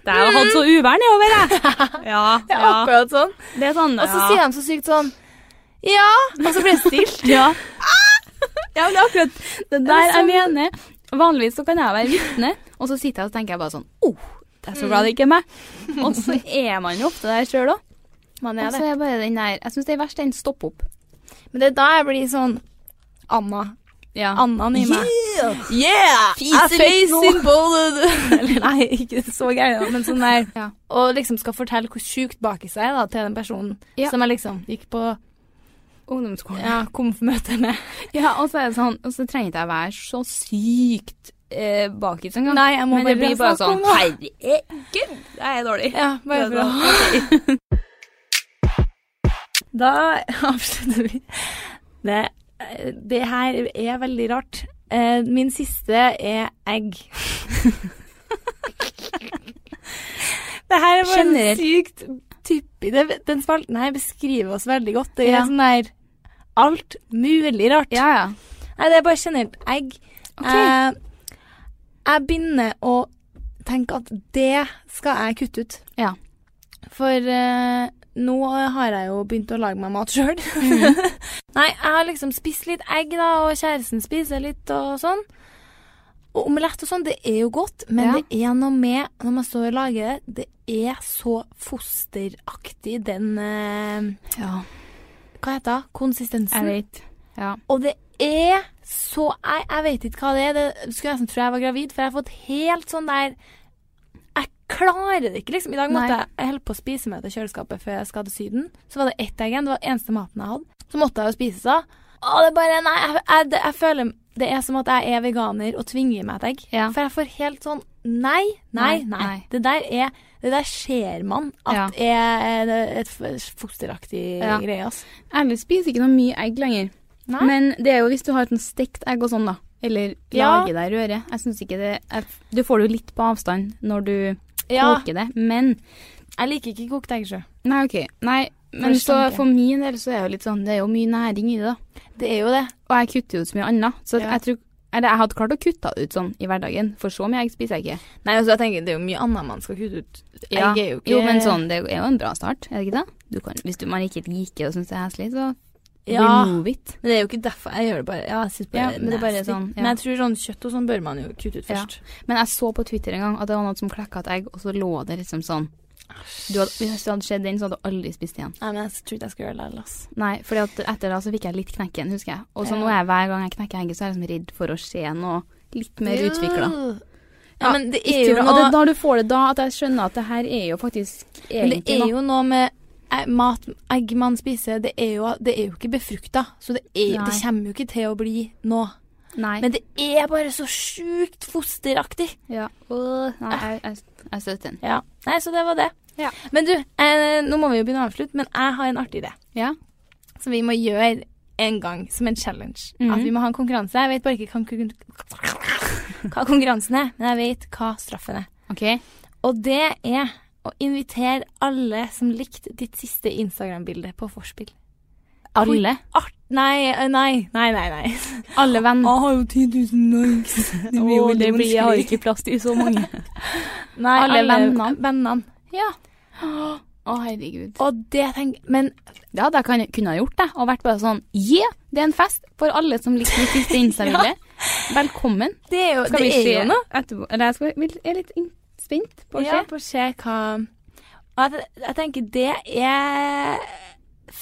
Speaker 1: Det har hatt
Speaker 2: Mm.
Speaker 1: så uvær nedover, jeg. Ja.
Speaker 3: Det er akkurat sånn.
Speaker 1: Det er sånn
Speaker 3: Og så sier de så sykt sånn Ja! Og så blir det stilt.
Speaker 2: Ja. ja, men det er akkurat det sånn- der jeg mener. Vanligvis så kan jeg være vitne, og så sitter jeg og så tenker jeg bare sånn oh, det er så glad det ikke er [LAUGHS] meg. Og så er man jo ofte der sjøl òg.
Speaker 3: Man
Speaker 2: Og
Speaker 3: er
Speaker 2: så
Speaker 3: det.
Speaker 2: er bare den der Jeg syns det er verst den stopp opp.
Speaker 3: Men det er da jeg blir sånn Anna.
Speaker 2: Ja.
Speaker 3: Annan i meg.
Speaker 1: Yeah!
Speaker 3: Jeg facing [LAUGHS] Eller nei, ikke så gærent, men sånn der.
Speaker 2: [LAUGHS] Ja.
Speaker 3: Og liksom skal fortelle hvor sjukt bakis jeg er da, til den personen
Speaker 2: Ja.
Speaker 3: som jeg liksom gikk på
Speaker 2: Ungdomsskolen.
Speaker 3: ja, komfmøte med.
Speaker 2: Ja, og så er det sånn Og så trenger ikke jeg være så sykt eh, bakis engang.
Speaker 3: Nei, jeg må
Speaker 2: Men
Speaker 3: bare
Speaker 2: det blir bare
Speaker 3: snakke om
Speaker 2: sånn
Speaker 3: det.
Speaker 2: Herregud, jeg er dårlig.
Speaker 3: Ja, bare
Speaker 2: Det er
Speaker 3: bra. [LAUGHS] Da avslutter vi. Det, det her er veldig rart. Eh, Min siste er [LAUGHS] egg. det her er bare
Speaker 2: Generelt.
Speaker 3: sykt typisk. Det- Den spalten her beskriver oss veldig godt. Det er
Speaker 2: Ja.
Speaker 3: sånn der alt mulig rart.
Speaker 2: Ja, ja.
Speaker 3: Nei, det er bare generelt egg.
Speaker 2: Ok.
Speaker 3: Eh, jeg begynner å tenke at det skal jeg kutte ut.
Speaker 2: Ja.
Speaker 3: For eh, nå har jeg jo begynt å lage meg mat sjøl.
Speaker 2: Mhm.
Speaker 3: [LAUGHS] Nei, jeg har liksom spist litt egg, da, og kjæresten spiser litt og sånn. Og omelett og sånn, det er jo godt, men
Speaker 2: Ja.
Speaker 3: det er noe med når man står og lager det, det er så fosteraktig, den eh,
Speaker 2: ja.
Speaker 3: Hva heter det? Konsistensen.
Speaker 2: Jeg vet. Ja.
Speaker 3: Og det er så Jeg, jeg vet ikke hva det er. Det skulle nesten tro jeg var gravid, for jeg har fått helt sånn der Jeg klarer det ikke, liksom. I dag måtte
Speaker 2: Nei.
Speaker 3: jeg, jeg holdt på å spise meg ut av kjøleskapet før jeg skal til Syden. Så var det ett egg igjen. Det var eneste maten jeg hadde. Så måtte jeg jo spise det. Å, det er bare Nei, jeg, jeg, det- jeg føler det er som at jeg er veganer og tvinger i meg et egg.
Speaker 2: Ja.
Speaker 3: For jeg får helt sånn Nei, nei,
Speaker 2: Nei,
Speaker 3: nei.
Speaker 2: nei.
Speaker 3: Det der er Det der ser man at er eh, et f- fosteraktig
Speaker 2: Ja.
Speaker 3: greie, altså.
Speaker 2: Ærlig spiser ikke noe mye egg lenger.
Speaker 3: Nei.
Speaker 2: Men det er jo hvis du har et sånn stekt egg og sånn, da. Eller
Speaker 3: Ja.
Speaker 2: lage deg røre. Jeg synes ikke det jeg, Du får det jo litt på avstand når du
Speaker 3: Ja.
Speaker 2: koker det, men
Speaker 3: Jeg liker ikke kokt egg sjøl.
Speaker 2: Nei, OK. Nei, men
Speaker 3: Først
Speaker 2: så
Speaker 3: tanke.
Speaker 2: for min del så er det jo litt sånn Det er jo mye næring i det, da.
Speaker 3: Det er jo det.
Speaker 2: Og jeg kutter jo ut så mye annet. Så
Speaker 3: Ja.
Speaker 2: jeg tror Eller jeg hadde klart å kutte det ut sånn i hverdagen, for så mye egg spiser jeg ikke.
Speaker 3: Nei, altså, jeg tenker Det er jo mye annet man skal kutte ut. Egg
Speaker 2: Ja.
Speaker 3: er jo ikke
Speaker 2: Jo, men sånn, det er jo en bra start, er det ikke det? Du kan, hvis du, man ikke liker det og syns det er heslig, så
Speaker 3: Ja,
Speaker 2: remove it.
Speaker 3: men det er jo ikke derfor jeg gjør det bare. Ja, jeg synes bare,
Speaker 2: Ja,
Speaker 3: det er
Speaker 2: men det er bare
Speaker 3: nasty.
Speaker 2: sånn, ja.
Speaker 3: Men jeg tror sånn kjøtt og sånn bør man jo kutte ut
Speaker 2: Ja.
Speaker 3: først.
Speaker 2: Men jeg så på Twitter en gang at det var noen som klekka et egg, og så lå det liksom sånn du hadde, Hvis det hadde skjedd den, så hadde du aldri spist igjen.
Speaker 3: Nei, men jeg tror ikke jeg skal gjøre det altså. likevel, ass.
Speaker 2: Nei, for etter det så fikk jeg litt knekken, husker jeg. Og så
Speaker 3: Ja.
Speaker 2: nå er jeg hver gang jeg knekker egget, så er jeg liksom redd for å se noe litt mer utvikla.
Speaker 3: Ja, men det er
Speaker 2: Ikke
Speaker 3: jo
Speaker 2: bra. Og det
Speaker 3: noe
Speaker 2: er da du får det da, at jeg skjønner at det her er jo faktisk
Speaker 3: Men
Speaker 2: egentlig
Speaker 3: det er jo noe med eh, mat, egg man spiser, det er jo, det er jo ikke befrukta. Så det, er,
Speaker 2: Nei.
Speaker 3: det kommer jo ikke til å bli nå.
Speaker 2: noe Nei.
Speaker 3: Men det er bare så sjukt fosteraktig.
Speaker 2: ja. Øh, nei jeg, jeg, jeg støtter den.
Speaker 3: Ja. Nei, så det var det.
Speaker 2: Ja.
Speaker 3: Men du, eh, nå må vi jo begynne å avslutte, men jeg har en artig idé.
Speaker 2: Ja.
Speaker 3: som vi må gjøre en gang, som en challenge.
Speaker 2: Mhm.
Speaker 3: At vi må ha en konkurranse. Jeg vet bare ikke hva kon- hva konkurransen er, men jeg vet hva straffen er.
Speaker 2: OK.
Speaker 3: Og det er å invitere alle som likte ditt siste Instagram-bilde på vorspiel.
Speaker 2: Alle.
Speaker 3: Art nei, eh, nei, nei, nei. nei.
Speaker 2: Alle venner.
Speaker 3: har jo 10 000 likes. Det blir jo
Speaker 2: Å,
Speaker 3: veldig
Speaker 2: blir- jeg har
Speaker 3: vanskelig.
Speaker 2: [LAUGHS] ikke plass til så mange.
Speaker 3: Nei, alle,
Speaker 2: alle
Speaker 3: vennene.
Speaker 2: vennene.
Speaker 3: Ja.
Speaker 2: Å, herregud.
Speaker 3: Og det tenk... Men
Speaker 2: Det hadde jeg kan, kunne ha gjort, det, og vært bare sånn Yeah, det er en fest for alle som likte mitt siste [LAUGHS] Insta-bilde. Velkommen.
Speaker 3: det er jo,
Speaker 2: Skal
Speaker 3: det
Speaker 2: vi
Speaker 3: er
Speaker 2: se
Speaker 3: jo noe.
Speaker 2: etterpå? Eller jeg, skal, vil, jeg er litt in- spent på å se.
Speaker 3: Ja, på å se hva Og jeg, jeg tenker det er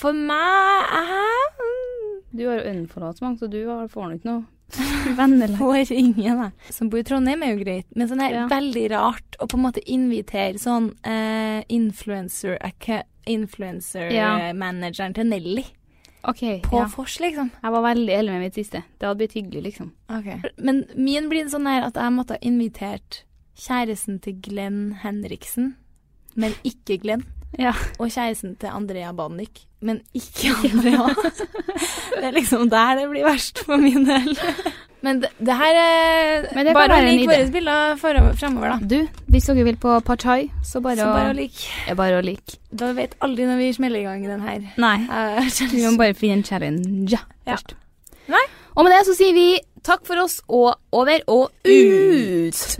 Speaker 3: For meg eh,
Speaker 2: Du har jo unforholdsmann, så du har- får nok noe [LAUGHS] Vennelag.
Speaker 3: På ringen, da. Som bor i Trondheim er jo greit, men sånn her
Speaker 2: Ja.
Speaker 3: veldig rart å på en måte invitere sånn eh, influencer eh, acca-
Speaker 2: Ja.
Speaker 3: Influencer-manageren til Nelly
Speaker 2: OK.
Speaker 3: på
Speaker 2: Ja.
Speaker 3: Fors, liksom.
Speaker 2: Jeg var veldig ille med mitt siste. Det hadde blitt hyggelig, liksom.
Speaker 3: Men min blir sånn her at jeg måtte ha invitert kjæresten til Glenn Henriksen, men ikke Glenn.
Speaker 2: Ja.
Speaker 3: Og kjæresten til Andrea Banik, men ikke Andrea. det er liksom der det blir verst for min del. Men det, det her er
Speaker 2: Men det kan
Speaker 3: bare å
Speaker 2: være en
Speaker 3: like
Speaker 2: idé.
Speaker 3: våre bilder forover- fremover, da.
Speaker 2: Du, hvis dere vil på partai, så bare,
Speaker 3: Så bare å
Speaker 2: å
Speaker 3: like.
Speaker 2: Ja, bare å like.
Speaker 3: Da vet aldri når vi smeller i gang den her.
Speaker 2: Nei.
Speaker 3: Eh,
Speaker 2: Vi må bare finne en challenge
Speaker 3: Ja.
Speaker 2: først.
Speaker 3: Nei.
Speaker 2: Og med det så sier vi takk for oss og over og ut.